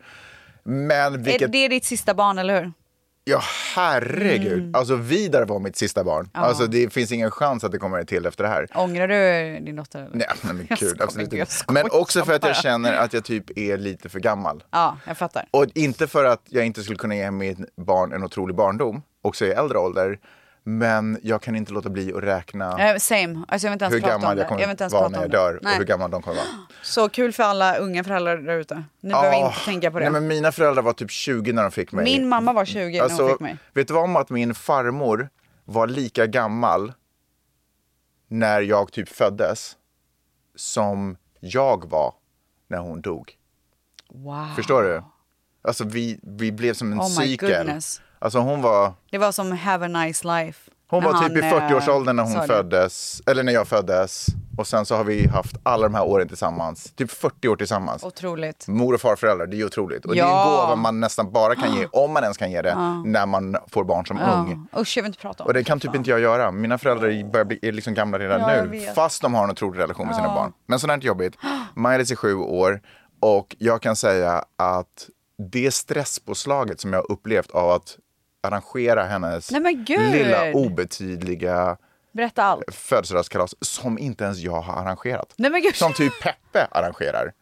[SPEAKER 1] Men vilket...
[SPEAKER 2] Är, det är ditt sista barn, eller hur?
[SPEAKER 1] Ja, herregud.
[SPEAKER 2] Mm.
[SPEAKER 1] Alltså Vidar var mitt sista barn. Alltså det finns ingen chans att det kommer ett till efter det här.
[SPEAKER 2] Ångrar du din dotter? Eller?
[SPEAKER 1] Nej, nej men
[SPEAKER 2] Jag
[SPEAKER 1] kul.
[SPEAKER 2] skojar,
[SPEAKER 1] Absolut
[SPEAKER 2] jag
[SPEAKER 1] inte.
[SPEAKER 2] skojar
[SPEAKER 1] Men också för att jag
[SPEAKER 2] bara.
[SPEAKER 1] känner att jag typ är lite för gammal.
[SPEAKER 2] Ja, jag fattar.
[SPEAKER 1] Och inte för att jag inte skulle kunna ge mitt barn en otrolig barndom, också i äldre ålder. Men jag kan inte låta bli att räkna
[SPEAKER 2] Eh, Same. Alltså, jag vill inte ens
[SPEAKER 1] hur
[SPEAKER 2] prata om
[SPEAKER 1] gammal
[SPEAKER 2] det.
[SPEAKER 1] jag kommer
[SPEAKER 2] vill inte ens
[SPEAKER 1] vara
[SPEAKER 2] prata
[SPEAKER 1] när
[SPEAKER 2] om
[SPEAKER 1] jag
[SPEAKER 2] det.
[SPEAKER 1] dör och
[SPEAKER 2] Nej.
[SPEAKER 1] hur gammal de kommer vara.
[SPEAKER 2] Så kul för alla unga föräldrar där ute. Ni behöver
[SPEAKER 1] Ah,
[SPEAKER 2] inte tänka på det.
[SPEAKER 1] Nej, men mina föräldrar var typ 20 när de fick mig.
[SPEAKER 2] Min mamma var 20 när hon fick mig.
[SPEAKER 1] Alltså, Vet du vad om att min farmor var lika gammal när jag typ föddes som jag var när hon dog?
[SPEAKER 2] Wow.
[SPEAKER 1] Förstår du? Alltså vi, vi blev som en
[SPEAKER 2] Ah. Oh my
[SPEAKER 1] cykel.
[SPEAKER 2] goodness.
[SPEAKER 1] Alltså hon var,
[SPEAKER 2] Det var som have a nice life.
[SPEAKER 1] hon
[SPEAKER 2] När
[SPEAKER 1] var typ i
[SPEAKER 2] han, eh,
[SPEAKER 1] 40-årsåldern när
[SPEAKER 2] sa
[SPEAKER 1] hon
[SPEAKER 2] det.
[SPEAKER 1] föddes, eller när jag föddes. Och sen så har vi haft alla de här åren tillsammans, typ 40 år tillsammans.
[SPEAKER 2] Otroligt.
[SPEAKER 1] Mor och farföräldrar, det är ju otroligt. Och det är en
[SPEAKER 2] Ja. Ah.
[SPEAKER 1] gåva man nästan bara kan ge, om man ens kan ge det, när man får barn som ung.
[SPEAKER 2] Ja. Usch, jag vill inte prata om
[SPEAKER 1] Och det kan typ inte jag göra. Mina föräldrar börjar bli, är liksom gamla redan
[SPEAKER 2] Ja, jag
[SPEAKER 1] nu.
[SPEAKER 2] vet.
[SPEAKER 1] Fast de har en otrolig relation med sina barn. Men sånt här är inte jobbigt. Maj-Lis är sju år och jag kan säga att det stresspåslaget som jag har upplevt av att arrangera hennes
[SPEAKER 2] Nej, men gud!
[SPEAKER 1] lilla obetydliga
[SPEAKER 2] Berätta allt.
[SPEAKER 1] födelsedagskalas som inte ens jag har arrangerat.
[SPEAKER 2] Nej, men gud.
[SPEAKER 1] Som typ Peppe arrangerar.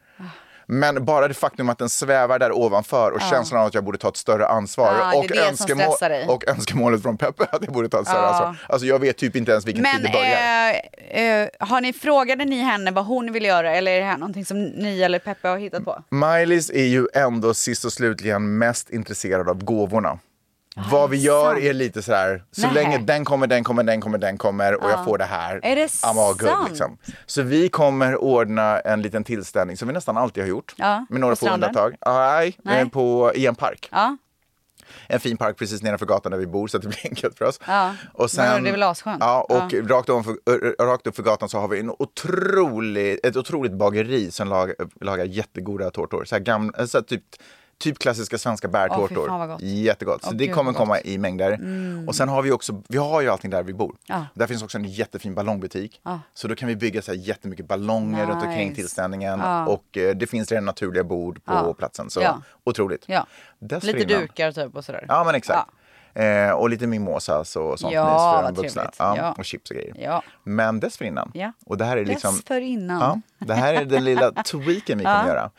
[SPEAKER 1] Men bara det faktum att den svävar där ovanför och känslan av att jag borde ta ett större ansvar
[SPEAKER 2] Ja, det är
[SPEAKER 1] och,
[SPEAKER 2] det som stressar dig.
[SPEAKER 1] och önskemålet från Peppe att jag borde ta ett större
[SPEAKER 2] Ja.
[SPEAKER 1] ansvar. Alltså jag vet typ inte ens vilken tid
[SPEAKER 2] Men
[SPEAKER 1] det börjar.
[SPEAKER 2] eh, eh, har ni, frågade ni henne vad hon ville göra eller är det här någonting som ni eller Peppe har hittat på?
[SPEAKER 1] Miley's är ju ändå sist och slutligen mest intresserad av gåvorna. Vad vi gör
[SPEAKER 2] sant.
[SPEAKER 1] är lite så här, så
[SPEAKER 2] Nähä.
[SPEAKER 1] länge den kommer, den kommer, den kommer, den kommer och jag får det här.
[SPEAKER 2] Är det
[SPEAKER 1] I'm all good,
[SPEAKER 2] sant?
[SPEAKER 1] Liksom. Så vi kommer ordna en liten tillställning som vi nästan alltid har gjort.
[SPEAKER 2] Ja,
[SPEAKER 1] med några
[SPEAKER 2] på
[SPEAKER 1] få
[SPEAKER 2] stranden?
[SPEAKER 1] undantag. Nej,
[SPEAKER 2] Nej.
[SPEAKER 1] eh, På, i en park.
[SPEAKER 2] Ja,
[SPEAKER 1] en fin park precis nedanför gatan där vi bor så att det blir enkelt för oss.
[SPEAKER 2] Ja.
[SPEAKER 1] Och
[SPEAKER 2] Men det är väl asskönt?
[SPEAKER 1] Ja, och Rakt, ovanför, ö, ö, rakt upp för gatan så har vi en otrolig, ett otroligt bageri som lagar, lagar jättegoda tårtor. Så här gamla, så här typ, typ klassiska svenska bärtårtor.
[SPEAKER 2] fan vad gott.
[SPEAKER 1] Jättegott. Så
[SPEAKER 2] Åh,
[SPEAKER 1] det
[SPEAKER 2] gud,
[SPEAKER 1] kommer
[SPEAKER 2] vad Mm.
[SPEAKER 1] komma i mängder. Och sen har vi också, vi har ju allting där vi bor.
[SPEAKER 2] Ja.
[SPEAKER 1] Där finns också en jättefin ballongbutik. Så då kan vi bygga så här jättemycket ballonger runt omkring
[SPEAKER 2] Nice.
[SPEAKER 1] tillställningen. Och eh, det finns redan naturliga bord på platsen. Så
[SPEAKER 2] Ja.
[SPEAKER 1] otroligt.
[SPEAKER 2] ja. lite
[SPEAKER 1] Dessförinnan-
[SPEAKER 2] dukar typ och sådär.
[SPEAKER 1] Ja, men exakt. Eh, och lite mimosas och sånt
[SPEAKER 2] Ja,
[SPEAKER 1] mys för
[SPEAKER 2] vad
[SPEAKER 1] de vuxna.
[SPEAKER 2] trevligt.
[SPEAKER 1] Ja,
[SPEAKER 2] Ja.
[SPEAKER 1] Och chips och grejer.
[SPEAKER 2] Ja.
[SPEAKER 1] Men dessförinnan.
[SPEAKER 2] Ja.
[SPEAKER 1] Och det här är liksom,
[SPEAKER 2] Dessförinnan.
[SPEAKER 1] Ja, det här är den lilla tweaken vi kommer göra.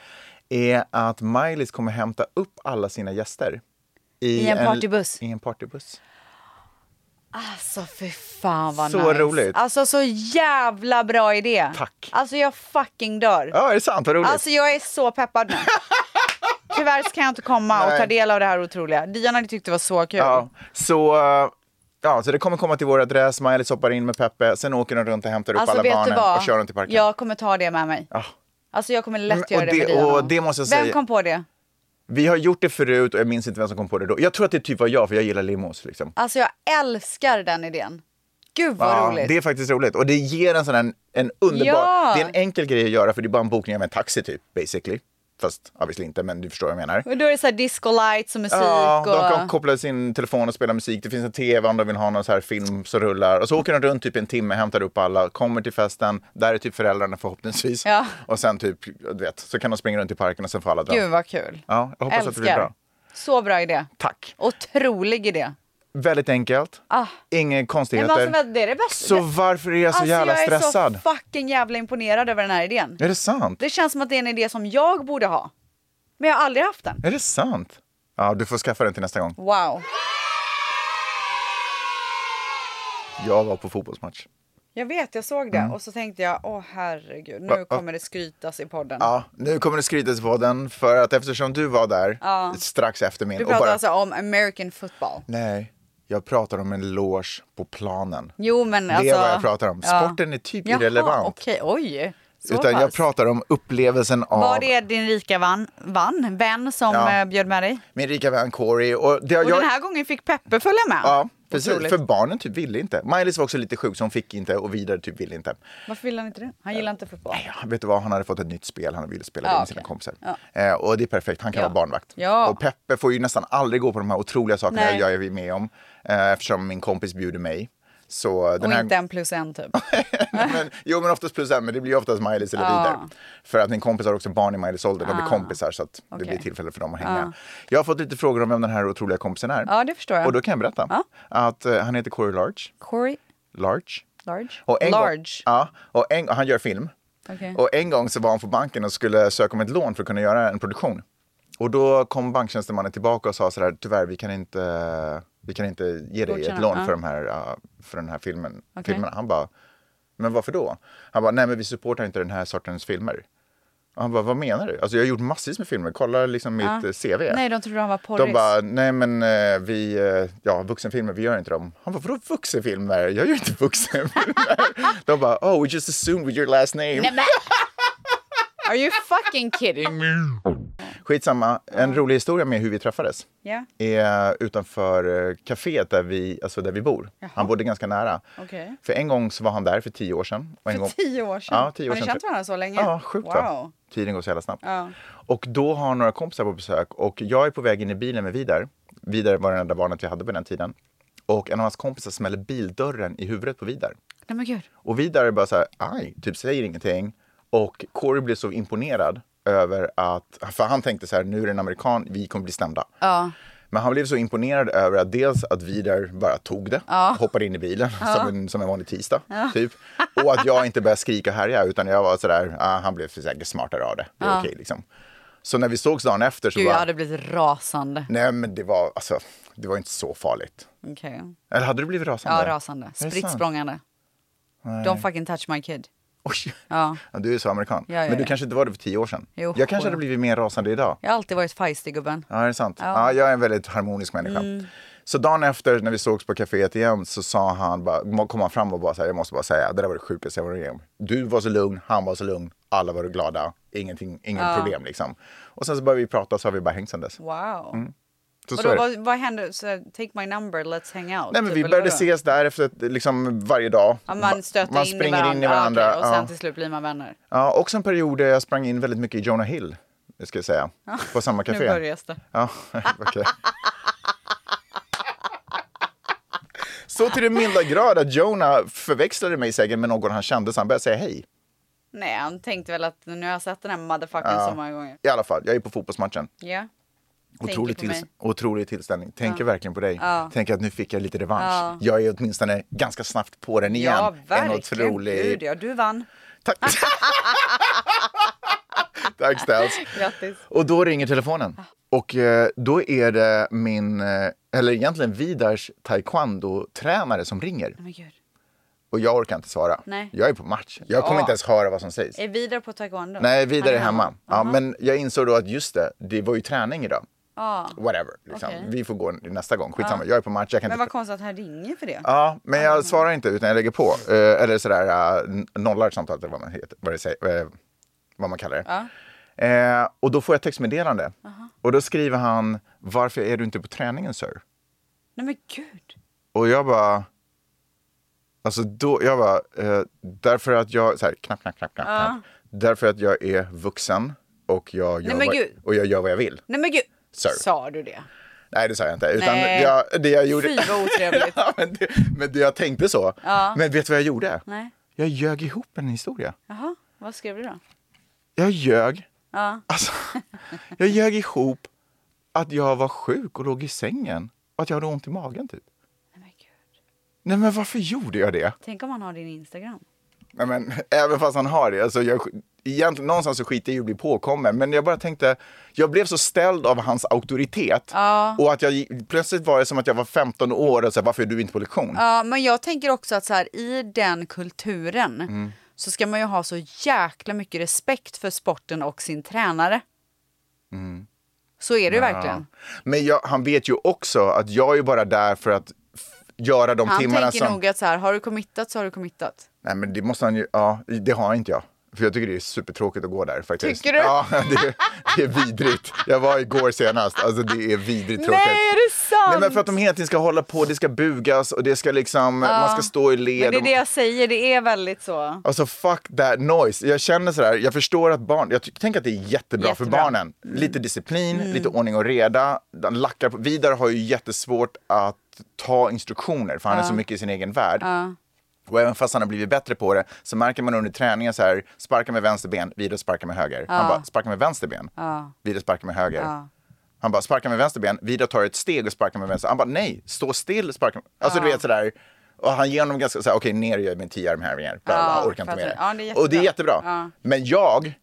[SPEAKER 1] är att Miley's kommer hämta upp alla sina gäster.
[SPEAKER 2] I en partybuss.
[SPEAKER 1] I en partybuss.
[SPEAKER 2] Alltså fy fan vad
[SPEAKER 1] Så
[SPEAKER 2] nice.
[SPEAKER 1] roligt.
[SPEAKER 2] Alltså så jävla bra idé.
[SPEAKER 1] Tack.
[SPEAKER 2] Alltså jag fucking dör.
[SPEAKER 1] Ja, är det sant? Vad roligt.
[SPEAKER 2] Alltså jag är så peppad nu. Tyvärr så kan jag inte komma och
[SPEAKER 1] Nej.
[SPEAKER 2] ta del av det här otroliga. Dion hade tyckt det var så kul.
[SPEAKER 1] Ja, så, eh, ja, så det kommer komma till vår adress, Miley hoppar in med Peppe, sen åker de runt och hämtar upp
[SPEAKER 2] Alltså
[SPEAKER 1] alla
[SPEAKER 2] vet du
[SPEAKER 1] barnen
[SPEAKER 2] vad?
[SPEAKER 1] och kör dem till parken.
[SPEAKER 2] Jag kommer ta det med mig.
[SPEAKER 1] Ja.
[SPEAKER 2] Alltså jag kommer lätt
[SPEAKER 1] Men-
[SPEAKER 2] göra
[SPEAKER 1] och
[SPEAKER 2] det,
[SPEAKER 1] det-
[SPEAKER 2] med Dion.
[SPEAKER 1] och det måste jag
[SPEAKER 2] Vem
[SPEAKER 1] säga-
[SPEAKER 2] kom på det?
[SPEAKER 1] Vi har gjort det förut och jag minns inte vem som kom på det då. Jag tror att det typ var jag, för jag gillar limos. Liksom.
[SPEAKER 2] Alltså jag älskar den idén. Gud vad
[SPEAKER 1] Ja,
[SPEAKER 2] roligt.
[SPEAKER 1] det är faktiskt roligt. Och det ger en sån här, en underbar...
[SPEAKER 2] Ja.
[SPEAKER 1] Det är en enkel grej att göra, för det är bara en bokning av en taxi typ, basically. Fast obviously inte, men du förstår vad jag menar.
[SPEAKER 2] Och då är det så här disco lights och musik
[SPEAKER 1] Ja, de kan
[SPEAKER 2] och...
[SPEAKER 1] koppla sin telefon och spela musik. Det finns en tv om de vill ha någon så här film som rullar. Och så åker de runt typ en timme, hämtar upp alla, kommer till festen. Där är typ föräldrarna förhoppningsvis.
[SPEAKER 2] Ja.
[SPEAKER 1] Och sen typ, du vet, så kan de springa runt i parken och sen får alla dra.
[SPEAKER 2] Gud vad kul.
[SPEAKER 1] Ja, jag hoppas att det blir
[SPEAKER 2] Älskar.
[SPEAKER 1] bra.
[SPEAKER 2] Så bra idé.
[SPEAKER 1] Tack.
[SPEAKER 2] Otrolig idé.
[SPEAKER 1] Väldigt enkelt.
[SPEAKER 2] Ah.
[SPEAKER 1] Inga
[SPEAKER 2] Men alltså,
[SPEAKER 1] konstigheter.
[SPEAKER 2] vad- det är det bästa.
[SPEAKER 1] Så varför är jag så
[SPEAKER 2] alltså,
[SPEAKER 1] jävla
[SPEAKER 2] jag är
[SPEAKER 1] stressad?
[SPEAKER 2] så fucking jävla imponerad över den här idén.
[SPEAKER 1] Är det sant?
[SPEAKER 2] Det känns som att det är en idé som jag borde ha. Men jag har aldrig haft den.
[SPEAKER 1] Är det sant? Ja, du får skaffa den till nästa gång.
[SPEAKER 2] Wow.
[SPEAKER 1] Jag var på fotbollsmatch.
[SPEAKER 2] Jag vet, jag såg det.
[SPEAKER 1] Mm.
[SPEAKER 2] Och så tänkte jag, åh herregud, nu kommer det skrytas i podden.
[SPEAKER 1] Ja, nu kommer det skrytas på den för att eftersom du var där strax efter min
[SPEAKER 2] Vi
[SPEAKER 1] och
[SPEAKER 2] pratar
[SPEAKER 1] bara-
[SPEAKER 2] alltså om American football.
[SPEAKER 1] Nej, jag pratar om en loge på planen.
[SPEAKER 2] Jo men
[SPEAKER 1] Det är
[SPEAKER 2] alltså.
[SPEAKER 1] vad jag pratar om. Sporten är typ
[SPEAKER 2] Jaha,
[SPEAKER 1] irrelevant.
[SPEAKER 2] okej, oj. Så
[SPEAKER 1] Utan jag
[SPEAKER 2] pass.
[SPEAKER 1] pratar om upplevelsen av
[SPEAKER 2] Var det din rika van, van, vän som
[SPEAKER 1] Ja.
[SPEAKER 2] eh, bjöd med dig?
[SPEAKER 1] min rika vän Corey. Och det har
[SPEAKER 2] Och
[SPEAKER 1] jag...
[SPEAKER 2] den här gången fick Peppe följa med.
[SPEAKER 1] Ja, precis.
[SPEAKER 2] Otroligt.
[SPEAKER 1] För barnen typ ville inte. Miley var också lite sjuk så hon fick inte och vidare typ ville inte.
[SPEAKER 2] Varför ville han inte det? Han gillar inte fotboll.
[SPEAKER 1] Ja, vet du vad, han hade fått ett nytt spel, han ville spela
[SPEAKER 2] Ja,
[SPEAKER 1] det med
[SPEAKER 2] okej.
[SPEAKER 1] sina kompisar.
[SPEAKER 2] Ja.
[SPEAKER 1] Eh, och det är perfekt, han kan
[SPEAKER 2] Ja.
[SPEAKER 1] vara barnvakt.
[SPEAKER 2] Ja.
[SPEAKER 1] Och Peppe får ju nästan aldrig gå på de här otroliga sakerna
[SPEAKER 2] Nej.
[SPEAKER 1] jag är med om. Eh, eftersom min kompis bjuder mig. Så den
[SPEAKER 2] Och
[SPEAKER 1] här...
[SPEAKER 2] inte en plus en typ.
[SPEAKER 1] men, jo men oftast plus en, men det blir ju oftast Miley's eller
[SPEAKER 2] Ja. Ah.
[SPEAKER 1] vidare. För att min kompis har också barn i Miley's ålder, de blir kompisar så att det
[SPEAKER 2] Okej. Ah.
[SPEAKER 1] blir tillfälle för dem att hänga. Jag har fått lite frågor om vem den här otroliga kompisen är.
[SPEAKER 2] Ja, det förstår jag.
[SPEAKER 1] Och då kan jag berätta att eh, han heter Corey Large.
[SPEAKER 2] Corey
[SPEAKER 1] Large.
[SPEAKER 2] Large?
[SPEAKER 1] Och en Gång,
[SPEAKER 2] Large.
[SPEAKER 1] ja, och en, han gör film.
[SPEAKER 2] Okej.
[SPEAKER 1] Och en gång så var han på banken och skulle söka om ett lån för att kunna göra en produktion. Och då kom banktjänstemannen tillbaka och sa sådär, tyvärr vi kan inte, vi kan inte ge dig
[SPEAKER 2] Godkänna,
[SPEAKER 1] ett lån
[SPEAKER 2] ja.
[SPEAKER 1] för, de här, ja, för den här filmen.
[SPEAKER 2] Okej.
[SPEAKER 1] filmerna. Han bara, men varför då? Han bara, nej men vi supportar inte den här sortens filmer. Och han bara, vad menar du? Alltså jag har gjort massvis med filmer, kolla liksom mitt eh, CV.
[SPEAKER 2] Nej, de trodde han var porris.
[SPEAKER 1] De bara, nej men eh, vi, eh, ja vuxenfilmer, vi gör inte dem. Han bara, vadå vuxenfilmer? Jag gör inte vuxenfilmer. De bara, oh we just assumed with your last name.
[SPEAKER 2] Are you fucking kidding me?
[SPEAKER 1] Skitsamma, en rolig historia med hur vi träffades.
[SPEAKER 2] Ja.
[SPEAKER 1] Är utanför eh, kaféet där vi, alltså där vi bor. Han bodde ganska nära.
[SPEAKER 2] Okej.
[SPEAKER 1] För en gång så var han där för tio år sedan. Och en gång...
[SPEAKER 2] För tio år sedan?
[SPEAKER 1] Ja, tio år
[SPEAKER 2] har ni
[SPEAKER 1] sedan. typ.
[SPEAKER 2] känt varandra så länge?
[SPEAKER 1] Ja, sjukt va?
[SPEAKER 2] wow.
[SPEAKER 1] Tiden går så jävla snabbt.
[SPEAKER 2] Ja.
[SPEAKER 1] Och då har några kompisar på besök och jag är på väg in i bilen med Vidar. Vidar var det enda barnet vi hade på den tiden. Och en av hans kompisar smäller bildörren i huvudet på Vidar.
[SPEAKER 2] Nej men gud.
[SPEAKER 1] Och Vidar är bara så här, aj, typ säger ingenting. Och Corey blev så imponerad över att, för han tänkte så här, nu är det en amerikan, vi kommer bli stämda.
[SPEAKER 2] Ja.
[SPEAKER 1] Men han blev så imponerad över att dels att Vidar bara tog det, hoppade in i bilen som, en, som en vanlig tisdag, typ. Och att jag inte började skrika och härja, utan jag var sådär, ah, han blev säkert smartare av det. Det är okej liksom. Så när vi sågs dagen efter så
[SPEAKER 2] Gud, jag
[SPEAKER 1] bara,
[SPEAKER 2] hade blivit rasande.
[SPEAKER 1] nej men det var, alltså, det var inte så farligt.
[SPEAKER 2] Okej.
[SPEAKER 1] Eller hade du blivit
[SPEAKER 2] Ja,
[SPEAKER 1] rasande?
[SPEAKER 2] rasande.
[SPEAKER 1] sant?
[SPEAKER 2] Spritt språngande. Don't fucking touch my kid.
[SPEAKER 1] Oj.
[SPEAKER 2] Ja.
[SPEAKER 1] Ja, du är så amerikan.
[SPEAKER 2] Ja, ja,
[SPEAKER 1] men du
[SPEAKER 2] ja.
[SPEAKER 1] kanske inte var det för tio år sedan.
[SPEAKER 2] Jo,
[SPEAKER 1] jag kanske
[SPEAKER 2] jo.
[SPEAKER 1] hade blivit mer rasande idag.
[SPEAKER 2] Jag har alltid varit feisty gubben.
[SPEAKER 1] Ja, det är sant. Ja. jag är en väldigt harmonisk människa.
[SPEAKER 2] Mm.
[SPEAKER 1] Så dagen efter när vi sågs på kaféet igen så sa han bara, kom han fram och bara så här, jag måste bara säga, det där var det sjukaste jag varit med om. Du var så lugn, han var så lugn, alla var glada, ingenting, ingen problem liksom. Och sen så började vi prata så har vi bara hängt sen dess.
[SPEAKER 2] Wow.
[SPEAKER 1] Mm, Så, så
[SPEAKER 2] Vadå,
[SPEAKER 1] är det.
[SPEAKER 2] vad, vad hände? Så, här, take my number, let's hang out.
[SPEAKER 1] Nej men
[SPEAKER 2] typ,
[SPEAKER 1] vi
[SPEAKER 2] eller
[SPEAKER 1] började
[SPEAKER 2] vadå?
[SPEAKER 1] ses där efter liksom varje dag.
[SPEAKER 2] Ja, man stöter
[SPEAKER 1] man
[SPEAKER 2] in, i
[SPEAKER 1] springer
[SPEAKER 2] varandra.
[SPEAKER 1] in i varandra.
[SPEAKER 2] Ja, okej, och sen
[SPEAKER 1] ja.
[SPEAKER 2] till slut blir man vänner.
[SPEAKER 1] Ja, också en period där jag sprang in väldigt mycket i Jonah Hill, det ska jag säga. På samma
[SPEAKER 2] Nu
[SPEAKER 1] café.
[SPEAKER 2] börjar det.
[SPEAKER 1] Ja, okej. Så till den milda grad att Jonah förväxlade mig säkert med någon han kände så han började säga hej.
[SPEAKER 2] Nej, han tänkte väl att nu har jag sett den här motherfuckern så många gånger.
[SPEAKER 1] I alla fall, jag är på fotbollsmatchen.
[SPEAKER 2] Ja. Tänker
[SPEAKER 1] Otrolig,
[SPEAKER 2] på
[SPEAKER 1] tills-
[SPEAKER 2] mig.
[SPEAKER 1] otrolig tillställning. Tänker verkligen på dig. Tänker att nu fick jag lite revansch. Jag är åtminstone ganska snabbt på den igen.
[SPEAKER 2] Ja,
[SPEAKER 1] en
[SPEAKER 2] verkligen.
[SPEAKER 1] otrolig...
[SPEAKER 2] Gud, ja, du vann.
[SPEAKER 1] Tack! Tack Stas.
[SPEAKER 2] Grattis.
[SPEAKER 1] Och då ringer telefonen.
[SPEAKER 2] Ah.
[SPEAKER 1] Och eh, då är det min, eh, eller egentligen Vidars taekwondo-tränare som ringer.
[SPEAKER 2] Men gud.
[SPEAKER 1] Och jag orkar inte svara.
[SPEAKER 2] Nej.
[SPEAKER 1] Jag är på match. Jag kommer
[SPEAKER 2] Ja.
[SPEAKER 1] inte ens höra vad som sägs.
[SPEAKER 2] Är Vidar på taekwondo?
[SPEAKER 1] Nej, Vidar är hemma. Ja,
[SPEAKER 2] Aha.
[SPEAKER 1] men jag insåg då att just det, det var ju träning idag.
[SPEAKER 2] Ja.
[SPEAKER 1] Whatever, liksom.
[SPEAKER 2] Okej.
[SPEAKER 1] vi får gå nästa gång. Skitsamma, jag är på match. Jag kan
[SPEAKER 2] Men
[SPEAKER 1] inte...
[SPEAKER 2] vad konstigt att han ringer för det.
[SPEAKER 1] Ja, men jag svarar inte utan jag lägger på. Eh, eller sådär, eh, n- nollar samtalet eller vad man, heter, vad det säger, eh, vad man kallar det. Eh, och då får jag ett textmeddelande. Och då skriver han, varför är du inte på träningen sir?
[SPEAKER 2] Nej men gud.
[SPEAKER 1] Och jag bara... Alltså då, jag bara... Eh, därför att jag... Så här, knapp, knapp, knapp, knapp, knapp. Därför att jag är vuxen och jag gör,
[SPEAKER 2] Nej, men
[SPEAKER 1] vad,
[SPEAKER 2] gud.
[SPEAKER 1] och jag gör vad jag vill.
[SPEAKER 2] Nej men gud.
[SPEAKER 1] Sir.
[SPEAKER 2] Sa du det?
[SPEAKER 1] Nej, det sa jag inte. Utan
[SPEAKER 2] Nej.
[SPEAKER 1] jag, det jag gjorde...
[SPEAKER 2] Fy, vad otrevligt.
[SPEAKER 1] ja, men, det, men det, jag tänkte så. Men vet du vad jag gjorde?
[SPEAKER 2] Nej.
[SPEAKER 1] Jag ljög ihop en historia.
[SPEAKER 2] Jaha, vad skrev du då?
[SPEAKER 1] Jag ljög.
[SPEAKER 2] Ja.
[SPEAKER 1] Alltså, jag ljög ihop att jag var sjuk och låg i sängen och att jag hade ont i magen, typ.
[SPEAKER 2] Nej men gud.
[SPEAKER 1] Nej, men varför gjorde jag det?
[SPEAKER 2] Tänk om han har din Instagram.
[SPEAKER 1] Nej, men, även fast han har det. Alltså, jag, egentligen, någonstans så skiter jag ju i att bli påkommen. Men jag bara tänkte, jag blev så ställd av hans auktoritet. Och att jag, gick- plötsligt var det som att jag var 15 år och så här, varför är du inte på lektion?
[SPEAKER 2] Ja, men jag tänker också att så här, i den kulturen
[SPEAKER 1] Mm.
[SPEAKER 2] så ska man ju ha så jäkla mycket respekt för sporten och sin tränare.
[SPEAKER 1] Mm.
[SPEAKER 2] Så är det ju verkligen.
[SPEAKER 1] Men jag, han vet ju också att jag är bara där för att f- göra de
[SPEAKER 2] Han
[SPEAKER 1] timmarna
[SPEAKER 2] tänker
[SPEAKER 1] som...
[SPEAKER 2] nog att så här, har du committat så har du committat.
[SPEAKER 1] Nej, men det måste han ju... Ja, det har inte jag. För jag tycker det är supertråkigt att gå där faktiskt.
[SPEAKER 2] Tycker du?
[SPEAKER 1] Ja, det, det är vidrigt. Jag var igår senast. Alltså det är vidrigt tråkigt.
[SPEAKER 2] Nej, är det sant?
[SPEAKER 1] Nej, men för att de hela tiden ska hålla på, det ska bugas och det ska liksom, man ska stå i led.
[SPEAKER 2] Men det är
[SPEAKER 1] och-
[SPEAKER 2] det jag säger, det är väldigt så.
[SPEAKER 1] Alltså fuck that noise. Jag känner sådär, jag förstår att barn, jag ty- tänker att det är jättebra, för
[SPEAKER 2] Jättebra. Mm.
[SPEAKER 1] barnen. Lite disciplin, lite ordning och reda. De Lackar på. Vidar har ju jättesvårt att ta instruktioner för han är så mycket i sin egen värld. Och även fast han har blivit bättre på det så märker man under träningen så här, sparka med vänster ben, Vidar sparkar med höger. Han bara, sparka med vänster ben, Vidar sparkar med höger. Han bara, sparka med vänster ben, Vidar tar ett steg och sparkar med vänster. Han bara, nej, stå still, sparka med... Alltså du vet sådär. Och han ger honom ganska, så här, okej ner gör jag min tioarm här, bla, bla,
[SPEAKER 2] Ja,
[SPEAKER 1] orkar inte med det.
[SPEAKER 2] fattar. Ja, det är jättebra.
[SPEAKER 1] och det är jättebra.
[SPEAKER 2] Ja.
[SPEAKER 1] Men jag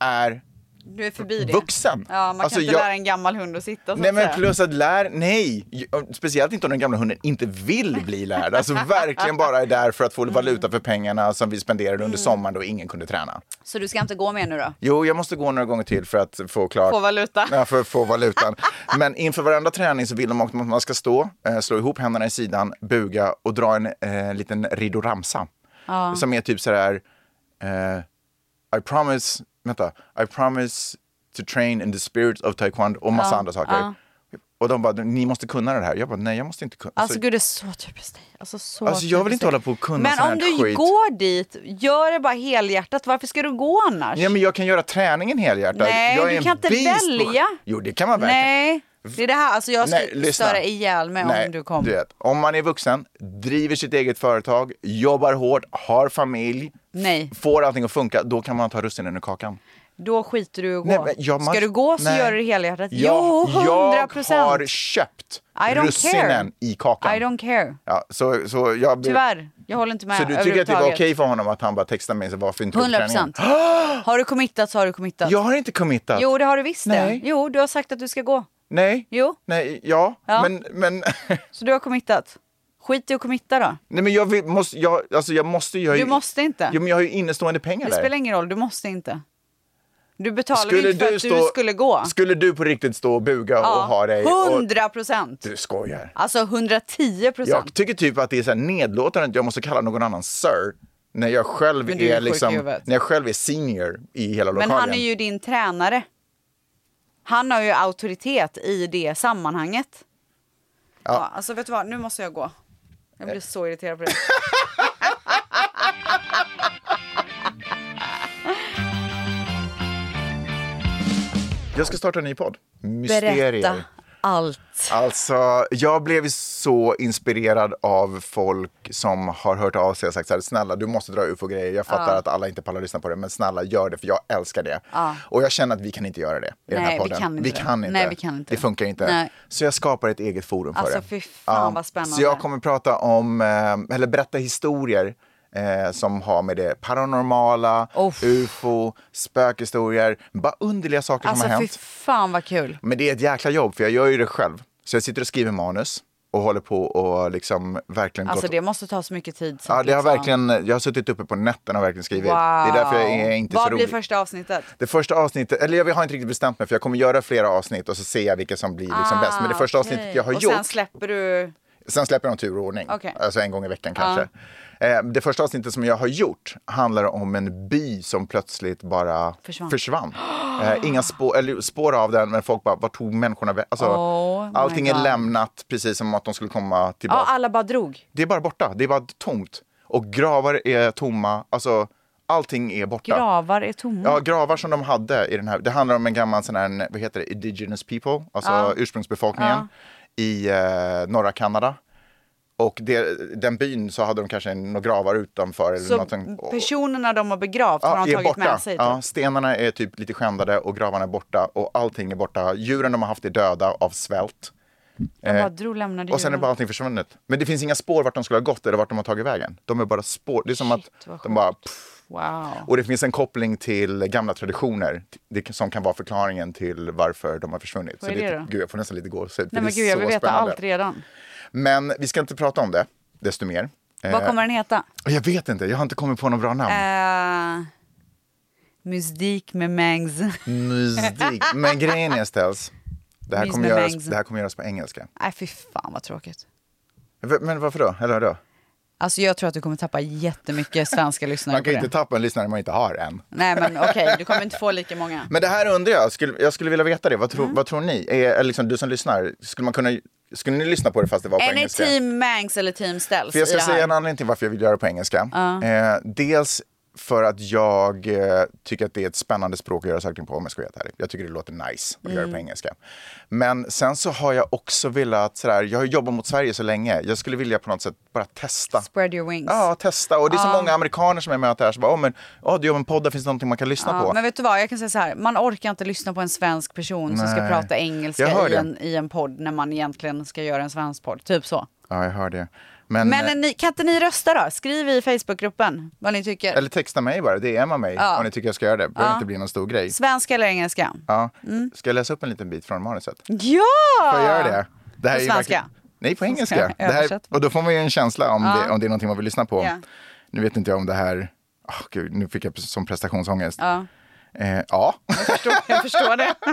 [SPEAKER 1] är
[SPEAKER 2] Du är förbi det.
[SPEAKER 1] vuxen.
[SPEAKER 2] Ja, man
[SPEAKER 1] Alltså,
[SPEAKER 2] kan inte
[SPEAKER 1] jag-
[SPEAKER 2] lära en gammal hund att sitta så
[SPEAKER 1] Nej
[SPEAKER 2] att
[SPEAKER 1] men
[SPEAKER 2] säga.
[SPEAKER 1] plus att lär, nej, speciellt inte om den gamla hunden inte vill bli lärd. Alltså verkligen bara är där för att få valuta för pengarna som vi spenderade
[SPEAKER 2] Mm.
[SPEAKER 1] under sommaren då ingen kunde träna.
[SPEAKER 2] Så du ska inte gå med nu då?
[SPEAKER 1] Jo, jag måste gå några gånger till för att få klart.
[SPEAKER 2] Få valuta.
[SPEAKER 1] Ja, för att få valutan. Men inför varenda träning så vill de att man ska stå, eh, slå ihop händerna i sidan, buga och dra en eh, liten ridoramsa. Som är typ så här, eh, I promise, vänta, I promise to train in the spirit of taekwondo och massa andra saker. Och de bara, ni måste kunna det här. Jag bara, nej jag måste inte kunna.
[SPEAKER 2] Alltså
[SPEAKER 1] Så-
[SPEAKER 2] gud det är så typiskt dig. Alltså, så
[SPEAKER 1] Alltså, jag vill
[SPEAKER 2] typiskt
[SPEAKER 1] inte
[SPEAKER 2] dig.
[SPEAKER 1] hålla på och kunna
[SPEAKER 2] Men
[SPEAKER 1] sån här
[SPEAKER 2] om du
[SPEAKER 1] skit.
[SPEAKER 2] går dit, gör det bara helhjärtat. Varför ska du gå annars?
[SPEAKER 1] Ja, men jag kan göra träningen helhjärtat.
[SPEAKER 2] Nej,
[SPEAKER 1] jag är
[SPEAKER 2] du
[SPEAKER 1] en
[SPEAKER 2] kan inte
[SPEAKER 1] beast på-
[SPEAKER 2] välja.
[SPEAKER 1] Jo, det kan man verkligen.
[SPEAKER 2] Nej, det är det här. Alltså jag skulle
[SPEAKER 1] lyssna.
[SPEAKER 2] störa ihjäl mig
[SPEAKER 1] Nej,
[SPEAKER 2] om du kom.
[SPEAKER 1] vet, om man är vuxen, driver sitt eget företag, jobbar hårt, har familj,
[SPEAKER 2] Nej.
[SPEAKER 1] f- får allting att funka, då kan man ta russinen ur kakan.
[SPEAKER 2] Då skiter du i att gå.
[SPEAKER 1] Nej, men jag- man-
[SPEAKER 2] Ska du gå så
[SPEAKER 1] nej.
[SPEAKER 2] gör du det helhjärtat.
[SPEAKER 1] Jag,
[SPEAKER 2] jo, hundra
[SPEAKER 1] Jag har
[SPEAKER 2] procent.
[SPEAKER 1] köpt
[SPEAKER 2] I don't
[SPEAKER 1] russinen
[SPEAKER 2] care.
[SPEAKER 1] i kakan.
[SPEAKER 2] I don't care.
[SPEAKER 1] Ja, så, så, jag blev...
[SPEAKER 2] Tyvärr, jag håller inte med
[SPEAKER 1] så du tycker att det var okej
[SPEAKER 2] överhuvudtaget.
[SPEAKER 1] för honom att han bara textade mig så varför inte du på
[SPEAKER 2] 100
[SPEAKER 1] träningen?
[SPEAKER 2] procent. Har du committat så har du committat.
[SPEAKER 1] Jag har inte committat.
[SPEAKER 2] Jo, det har du visst det.
[SPEAKER 1] Nej.
[SPEAKER 2] Jo, du har sagt att du ska gå.
[SPEAKER 1] Nej.
[SPEAKER 2] Jo.
[SPEAKER 1] Nej, ja.
[SPEAKER 2] Ja.
[SPEAKER 1] Men, men,
[SPEAKER 2] Så du har committat. Skit i att committa då.
[SPEAKER 1] nej, men jag, vill, måste, jag, alltså, jag måste ju... jag har
[SPEAKER 2] Du
[SPEAKER 1] ju-
[SPEAKER 2] måste inte.
[SPEAKER 1] Jo, men jag har ju innestående pengar
[SPEAKER 2] Det
[SPEAKER 1] där.
[SPEAKER 2] spelar ingen roll, du måste inte. Du betalar ju inte för att du skulle gå.
[SPEAKER 1] Skulle du på riktigt stå och buga och ha dig... Och,
[SPEAKER 2] 100 procent!
[SPEAKER 1] du skojar.
[SPEAKER 2] Alltså 110 procent.
[SPEAKER 1] Jag tycker typ att det är så här nedlåtande att jag måste kalla någon annan sir när jag själv
[SPEAKER 2] Men du är
[SPEAKER 1] är,
[SPEAKER 2] sjuk i
[SPEAKER 1] liksom,
[SPEAKER 2] huvudet.
[SPEAKER 1] när jag själv är senior i hela
[SPEAKER 2] Men
[SPEAKER 1] lokalen.
[SPEAKER 2] han är ju din tränare. Han har ju auktoritet i det sammanhanget. Ja. alltså vet du vad, nu måste jag gå. Jag blir så irriterad på det.
[SPEAKER 1] Jag ska starta en ny podd. Mysterier.
[SPEAKER 2] Berätta allt.
[SPEAKER 1] Alltså, jag blev så inspirerad av folk som har hört av sig och sagt så här, snälla du måste dra ufo-grejer. Jag fattar att alla inte pallar lyssna på det, men snälla gör det för jag älskar det. Och jag känner att vi kan inte göra det i den här
[SPEAKER 2] Nej, vi
[SPEAKER 1] podden.
[SPEAKER 2] kan inte det. Nej, vi kan inte
[SPEAKER 1] Det
[SPEAKER 2] det.
[SPEAKER 1] funkar inte.
[SPEAKER 2] Nej.
[SPEAKER 1] Så jag skapar ett eget forum för
[SPEAKER 2] Alltså,
[SPEAKER 1] det.
[SPEAKER 2] fy fan vad spännande.
[SPEAKER 1] Så jag kommer prata om, eh, eller berätta historier eh, som har med det paranormala,
[SPEAKER 2] Uff.
[SPEAKER 1] ufo, spökhistorier, bara underliga saker
[SPEAKER 2] Alltså
[SPEAKER 1] som har
[SPEAKER 2] fy
[SPEAKER 1] hänt.
[SPEAKER 2] fan vad kul.
[SPEAKER 1] Men det är ett jäkla jobb, för jag gör ju det själv. Så jag sitter och skriver manus och håller på och liksom verkligen
[SPEAKER 2] Alltså
[SPEAKER 1] gått...
[SPEAKER 2] det måste ta så mycket tid. som
[SPEAKER 1] ja, det har
[SPEAKER 2] liksom-
[SPEAKER 1] verkligen, jag har suttit uppe på nätterna och verkligen skrivit.
[SPEAKER 2] Wow.
[SPEAKER 1] Det är därför jag är inte
[SPEAKER 2] Vad
[SPEAKER 1] så rolig.
[SPEAKER 2] blir första avsnittet?
[SPEAKER 1] Det första avsnittet, eller jag har inte riktigt bestämt mig för jag kommer göra flera avsnitt och så ser jag vilka som blir liksom bäst. Men det första
[SPEAKER 2] Ah,
[SPEAKER 1] avsnittet
[SPEAKER 2] okej.
[SPEAKER 1] jag har
[SPEAKER 2] och
[SPEAKER 1] gjort,
[SPEAKER 2] sen släpper du...
[SPEAKER 1] sen släpper jag dem tur och ordning.
[SPEAKER 2] Okej.
[SPEAKER 1] Alltså en gång i veckan kanske. Eh, det första avsnittet som jag har gjort handlar om en by som plötsligt bara
[SPEAKER 2] Försvann.
[SPEAKER 1] Eh, inga spår, eller, spår av den, men folk bara, vart tog människorna vä- alltså,
[SPEAKER 2] Oh my
[SPEAKER 1] Allting är
[SPEAKER 2] God.
[SPEAKER 1] lämnat precis som att de skulle komma
[SPEAKER 2] Ja,
[SPEAKER 1] tillbaka.
[SPEAKER 2] alla bara drog.
[SPEAKER 1] Det är bara borta, det är bara tomt. Och gravar är tomma, alltså allting är borta.
[SPEAKER 2] Gravar är tomma.
[SPEAKER 1] Ja, gravar som de hade i den här. Det handlar om en gammal sån här, vad heter det, indigenous people, alltså ursprungsbefolkningen i eh, norra Kanada. Och det, den byn så hade de kanske några gravar utanför. Eller
[SPEAKER 2] så
[SPEAKER 1] någonting. Och-
[SPEAKER 2] personerna de har begravt har
[SPEAKER 1] Ja,
[SPEAKER 2] de
[SPEAKER 1] är
[SPEAKER 2] tagit
[SPEAKER 1] borta.
[SPEAKER 2] med sig?
[SPEAKER 1] ja,
[SPEAKER 2] typ.
[SPEAKER 1] stenarna är typ lite skändade och gravarna är borta och allting är borta. Djuren de har haft är döda av svält. Eh,
[SPEAKER 2] De bara drog, lämnade
[SPEAKER 1] Och sen är
[SPEAKER 2] djuren.
[SPEAKER 1] bara allting försvunnet. Men det finns inga spår vart de skulle ha gått eller vart de har tagit vägen. De är bara spår. Det är som
[SPEAKER 2] Shit, vad
[SPEAKER 1] att de bara... Pff,
[SPEAKER 2] Wow.
[SPEAKER 1] och det finns en koppling till gamla traditioner t- det, som kan vara förklaringen till varför de har försvunnit.
[SPEAKER 2] Vad är
[SPEAKER 1] är
[SPEAKER 2] det
[SPEAKER 1] lite-
[SPEAKER 2] då?
[SPEAKER 1] Gud, jag får nästan lite gåshud. för
[SPEAKER 2] Nej
[SPEAKER 1] det
[SPEAKER 2] men
[SPEAKER 1] är
[SPEAKER 2] gud, jag
[SPEAKER 1] så
[SPEAKER 2] vill veta
[SPEAKER 1] spännande.
[SPEAKER 2] allt redan.
[SPEAKER 1] Men vi ska inte prata om det, desto mer. Eh,
[SPEAKER 2] Vad kommer den heta?
[SPEAKER 1] Jag vet inte, jag har inte kommit på något bra namn.
[SPEAKER 2] Eh, mystik med Mangs.
[SPEAKER 1] Mystik. Men grejen är Stels, det här,
[SPEAKER 2] Mys
[SPEAKER 1] kommer
[SPEAKER 2] med
[SPEAKER 1] göras,
[SPEAKER 2] bangs.
[SPEAKER 1] det här kommer göras på engelska.
[SPEAKER 2] Nej fy fan vad tråkigt.
[SPEAKER 1] V- Men varför då? Eller då?
[SPEAKER 2] Alltså jag tror att du kommer tappa jättemycket svenska lyssnare
[SPEAKER 1] Man
[SPEAKER 2] på
[SPEAKER 1] kan ju
[SPEAKER 2] det.
[SPEAKER 1] inte tappa en lyssnare man inte har än.
[SPEAKER 2] Nej men okej, du kommer inte få lika många.
[SPEAKER 1] Men det här undrar jag, skulle, jag skulle vilja veta det. Vad,
[SPEAKER 2] Mm.
[SPEAKER 1] tro, vad tror ni? Är, eller liksom, du som lyssnar, skulle, man kunna, skulle ni lyssna på det fast det var på
[SPEAKER 2] Är ni
[SPEAKER 1] engelska?
[SPEAKER 2] team Mangs eller team Ställs
[SPEAKER 1] För jag
[SPEAKER 2] i
[SPEAKER 1] ska
[SPEAKER 2] det här?
[SPEAKER 1] säga en anledning till varför jag vill göra det på engelska. Eh, dels för att jag eh, tycker att det är ett spännande språk att göra saker på om jag ska vara helt ärlig. Jag tycker det låter nice att
[SPEAKER 2] Mm.
[SPEAKER 1] göra det på engelska. Men sen så har jag också velat, sådär, jag har jobbat mot Sverige så länge, jag skulle vilja på något sätt bara testa.
[SPEAKER 2] Spread your wings.
[SPEAKER 1] Ja, testa. Och det är så många amerikaner som jag möter här som bara, oh, men, oh, du gör en podd, där finns det någonting man kan lyssna
[SPEAKER 2] Ja,
[SPEAKER 1] på.
[SPEAKER 2] men vet du vad, jag kan säga så här. Man orkar inte lyssna på en svensk person som ska
[SPEAKER 1] Nej.
[SPEAKER 2] prata engelska
[SPEAKER 1] Jag hör
[SPEAKER 2] i
[SPEAKER 1] det.
[SPEAKER 2] en, i en podd när man egentligen ska göra en svensk podd. Typ så.
[SPEAKER 1] Ja, jag hör det. Men,
[SPEAKER 2] Men eh, ni, kan inte ni rösta då? Skriv i Facebookgruppen vad ni tycker.
[SPEAKER 1] Eller texta mig bara, DMa mig om ni tycker jag ska göra det. Det behöver inte bli någon stor grej.
[SPEAKER 2] Svenska eller engelska?
[SPEAKER 1] Ja.
[SPEAKER 2] Mm.
[SPEAKER 1] Ska jag läsa upp en liten bit från manuset?
[SPEAKER 2] Ja!
[SPEAKER 1] Får jag göra det? det
[SPEAKER 2] På
[SPEAKER 1] ju
[SPEAKER 2] svenska?
[SPEAKER 1] verkligen- Nej, på
[SPEAKER 2] jag
[SPEAKER 1] engelska. Det här,
[SPEAKER 2] översätta?
[SPEAKER 1] och då får man ju en känsla om, det, om det är någonting man vill lyssna på.
[SPEAKER 2] Ja.
[SPEAKER 1] Nu vet inte jag om det här... ah, Gud, nu fick jag som prestationsångest. Ja. Eh, ja.
[SPEAKER 2] Jag förstår det.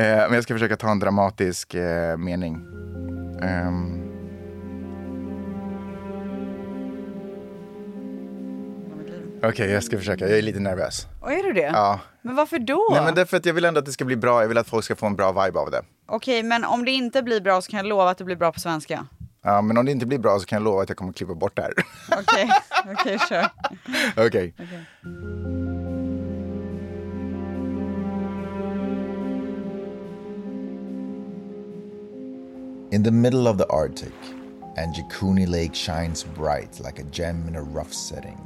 [SPEAKER 1] Eh, men jag ska försöka ta en dramatisk eh, mening. Ehm, Okej, jag ska försöka. Jag är lite nervös.
[SPEAKER 2] Och är du det?
[SPEAKER 1] Ja.
[SPEAKER 2] Men varför då?
[SPEAKER 1] Nej, men det är för att jag vill ändå att det ska bli bra. Jag vill att folk ska få en bra vibe av det.
[SPEAKER 2] Okej, men om det inte blir bra så kan jag lova att det blir bra på svenska.
[SPEAKER 1] Ja, men om det inte blir bra så kan jag lova att jag kommer klippa bort det här.
[SPEAKER 2] Okej, okej kör.
[SPEAKER 1] Okej.
[SPEAKER 6] In the middle of the Arctic, Anjikuni Lake shines bright like a gem in a rough setting.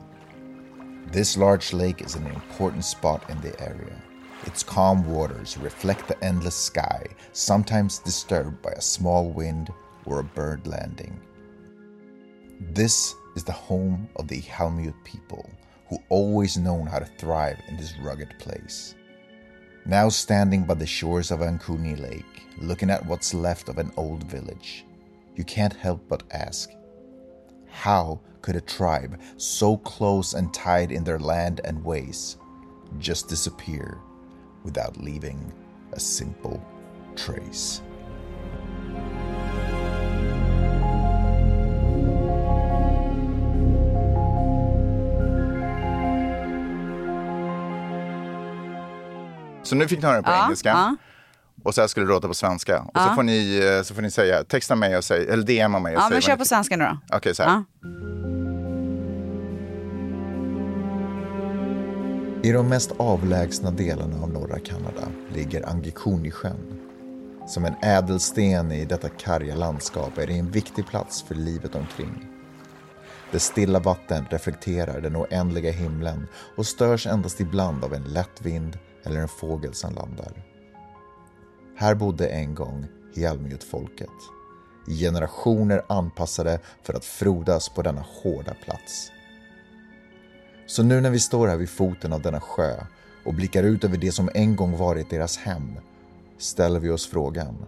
[SPEAKER 6] This large lake is an important spot in the area. Its calm waters reflect the endless sky, sometimes disturbed by a small wind or a bird landing. This is the home of the Ihalmiut people, who always known how to thrive in this rugged place. Now standing by the shores of Ankuni Lake, looking at what's left of an old village, you can't help but ask how could a tribe so close and tied in their land and ways just disappear without leaving a simple trace?
[SPEAKER 1] Så nu fick ni höra det på engelska.
[SPEAKER 2] ja.
[SPEAKER 1] Och så här skulle det låta på svenska. Och så, får ni, eh, så får ni säga, texta mig och säg, eller DMa mig och
[SPEAKER 2] Ja,
[SPEAKER 1] säg
[SPEAKER 2] men
[SPEAKER 1] vad
[SPEAKER 2] kör
[SPEAKER 1] ni
[SPEAKER 2] på
[SPEAKER 1] tycker.
[SPEAKER 2] svenska nu då.
[SPEAKER 1] Okej, så här.
[SPEAKER 2] Ja.
[SPEAKER 6] I de mest avlägsna delarna av norra Kanada ligger Angikonisjön. Som en ädelsten i detta karga landskap är det en viktig plats för livet omkring. Det stilla vatten reflekterar den oändliga himlen och störs endast ibland av en lätt vind eller en fågel som landar. Här bodde en gång Hjalmjutfolket. I generationer anpassade för att frodas på denna hårda plats. Så nu när vi står här vid foten av denna sjö och blickar ut över det som en gång varit deras hem ställer vi oss frågan.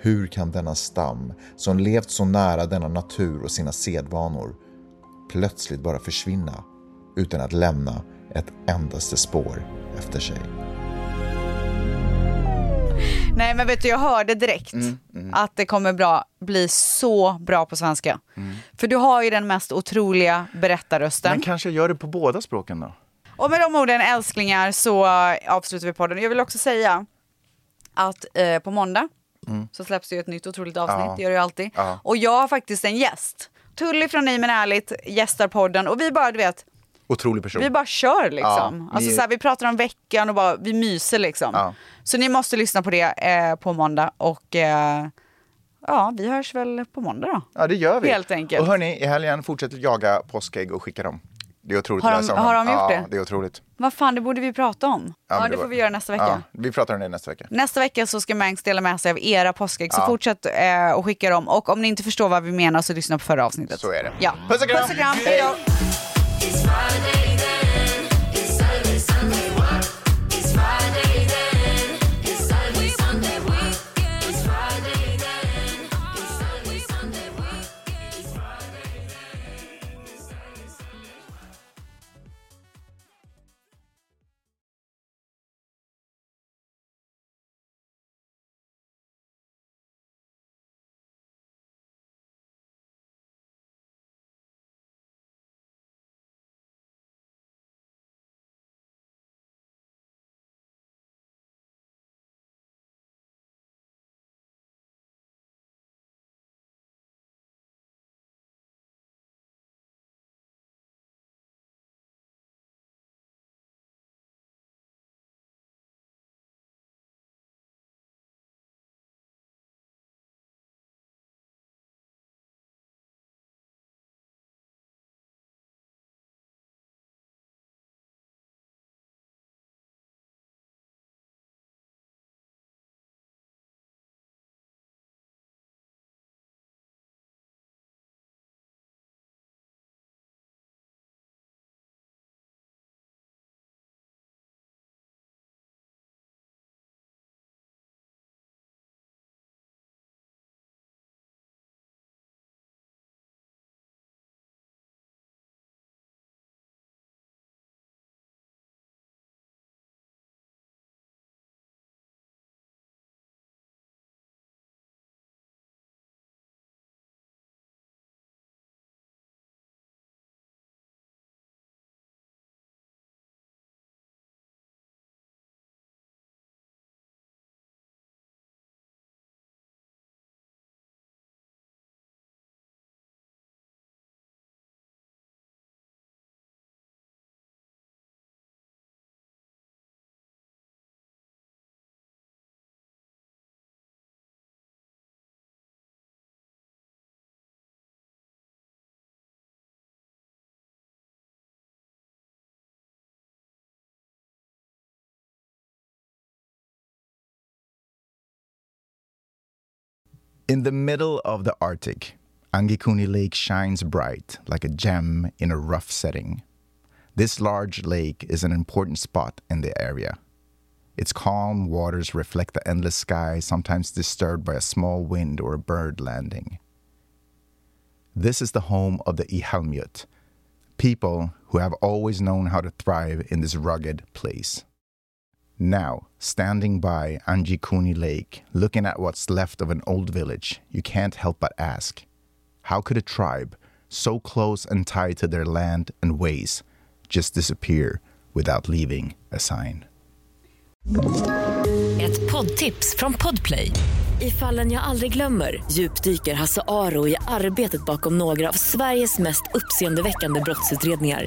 [SPEAKER 6] Hur kan denna stam, som levt så nära denna natur och sina sedvanor, plötsligt bara försvinna utan att lämna ett endaste spår efter sig?
[SPEAKER 2] Nej men vet du, jag hörde direkt
[SPEAKER 1] Mm,
[SPEAKER 2] att det kommer bra, bli så bra på svenska. För du har ju den mest otroliga berättarrösten.
[SPEAKER 1] Mm. Men kanske jag gör det på båda språken då?
[SPEAKER 2] Och med de orden älsklingar så eh, avslutar vi podden. Jag vill också säga att eh, på måndag så släpps det ju ett nytt otroligt avsnitt,
[SPEAKER 1] Mm. Ja.
[SPEAKER 2] det gör det ju alltid.
[SPEAKER 1] Ja.
[SPEAKER 2] Och jag har faktiskt en gäst. Tully från Nej men ärligt gästar podden och vi bara, du vet,
[SPEAKER 1] Otrolig person.
[SPEAKER 2] vi bara kör liksom.
[SPEAKER 1] Ja,
[SPEAKER 2] alltså,
[SPEAKER 1] vi-
[SPEAKER 2] så här, vi pratar om veckan och bara, vi myser liksom.
[SPEAKER 1] Ja.
[SPEAKER 2] Så ni måste lyssna på det eh, på måndag och eh, ja, vi hörs väl på måndag då.
[SPEAKER 1] Ja, det gör vi.
[SPEAKER 2] Helt enkelt.
[SPEAKER 1] Och hörni, i helgen fortsätt jaga påskägg och skicka dem. Det är otroligt
[SPEAKER 2] Har
[SPEAKER 1] att
[SPEAKER 2] de-
[SPEAKER 1] läsa om
[SPEAKER 2] har
[SPEAKER 1] dem.
[SPEAKER 2] de gjort
[SPEAKER 1] ja,
[SPEAKER 2] det?
[SPEAKER 1] det? är otroligt.
[SPEAKER 2] Vad fan, det borde vi prata om. Ja,
[SPEAKER 1] men
[SPEAKER 2] det
[SPEAKER 1] var-
[SPEAKER 2] får vi göra nästa vecka.
[SPEAKER 1] Ja, vi pratar om det nästa vecka.
[SPEAKER 2] Nästa vecka så ska Mangs dela med sig av era påskägg, så
[SPEAKER 1] Ja.
[SPEAKER 2] fortsätt eh, och skicka dem. Och om ni inte förstår vad vi menar så lyssna på förra avsnittet.
[SPEAKER 1] Så är det.
[SPEAKER 2] Ja.
[SPEAKER 1] Puss och kram!
[SPEAKER 2] Puss och kram. Hej då.
[SPEAKER 7] It's Friday then, it's Saturday, Sunday, what? It's Friday then, it's Saturday, Sunday, weekend. It's Friday then, it's Saturday, Sunday, weekend. It's Friday then, it's Saturday, Sunday.
[SPEAKER 1] In the middle of the Arctic, Angikuni Lake shines bright like a gem in a rough setting. This large lake is an important spot in the area. Its calm waters reflect the endless sky, sometimes disturbed by a small wind or a bird landing. This is the home of the Ihalmut, people who have always known how to thrive in this rugged place. Now, standing by Anjikuni Lake, looking at what's left of an old village, you can't help but ask how could a tribe so close and tied to their land and ways just disappear without leaving a sign?
[SPEAKER 5] Ett poddtips från Podplay.
[SPEAKER 8] I fallen jag aldrig glömmer djupdyker Hasse Aro i arbetet bakom några av Sveriges mest uppseendeväckande brottsutredningar.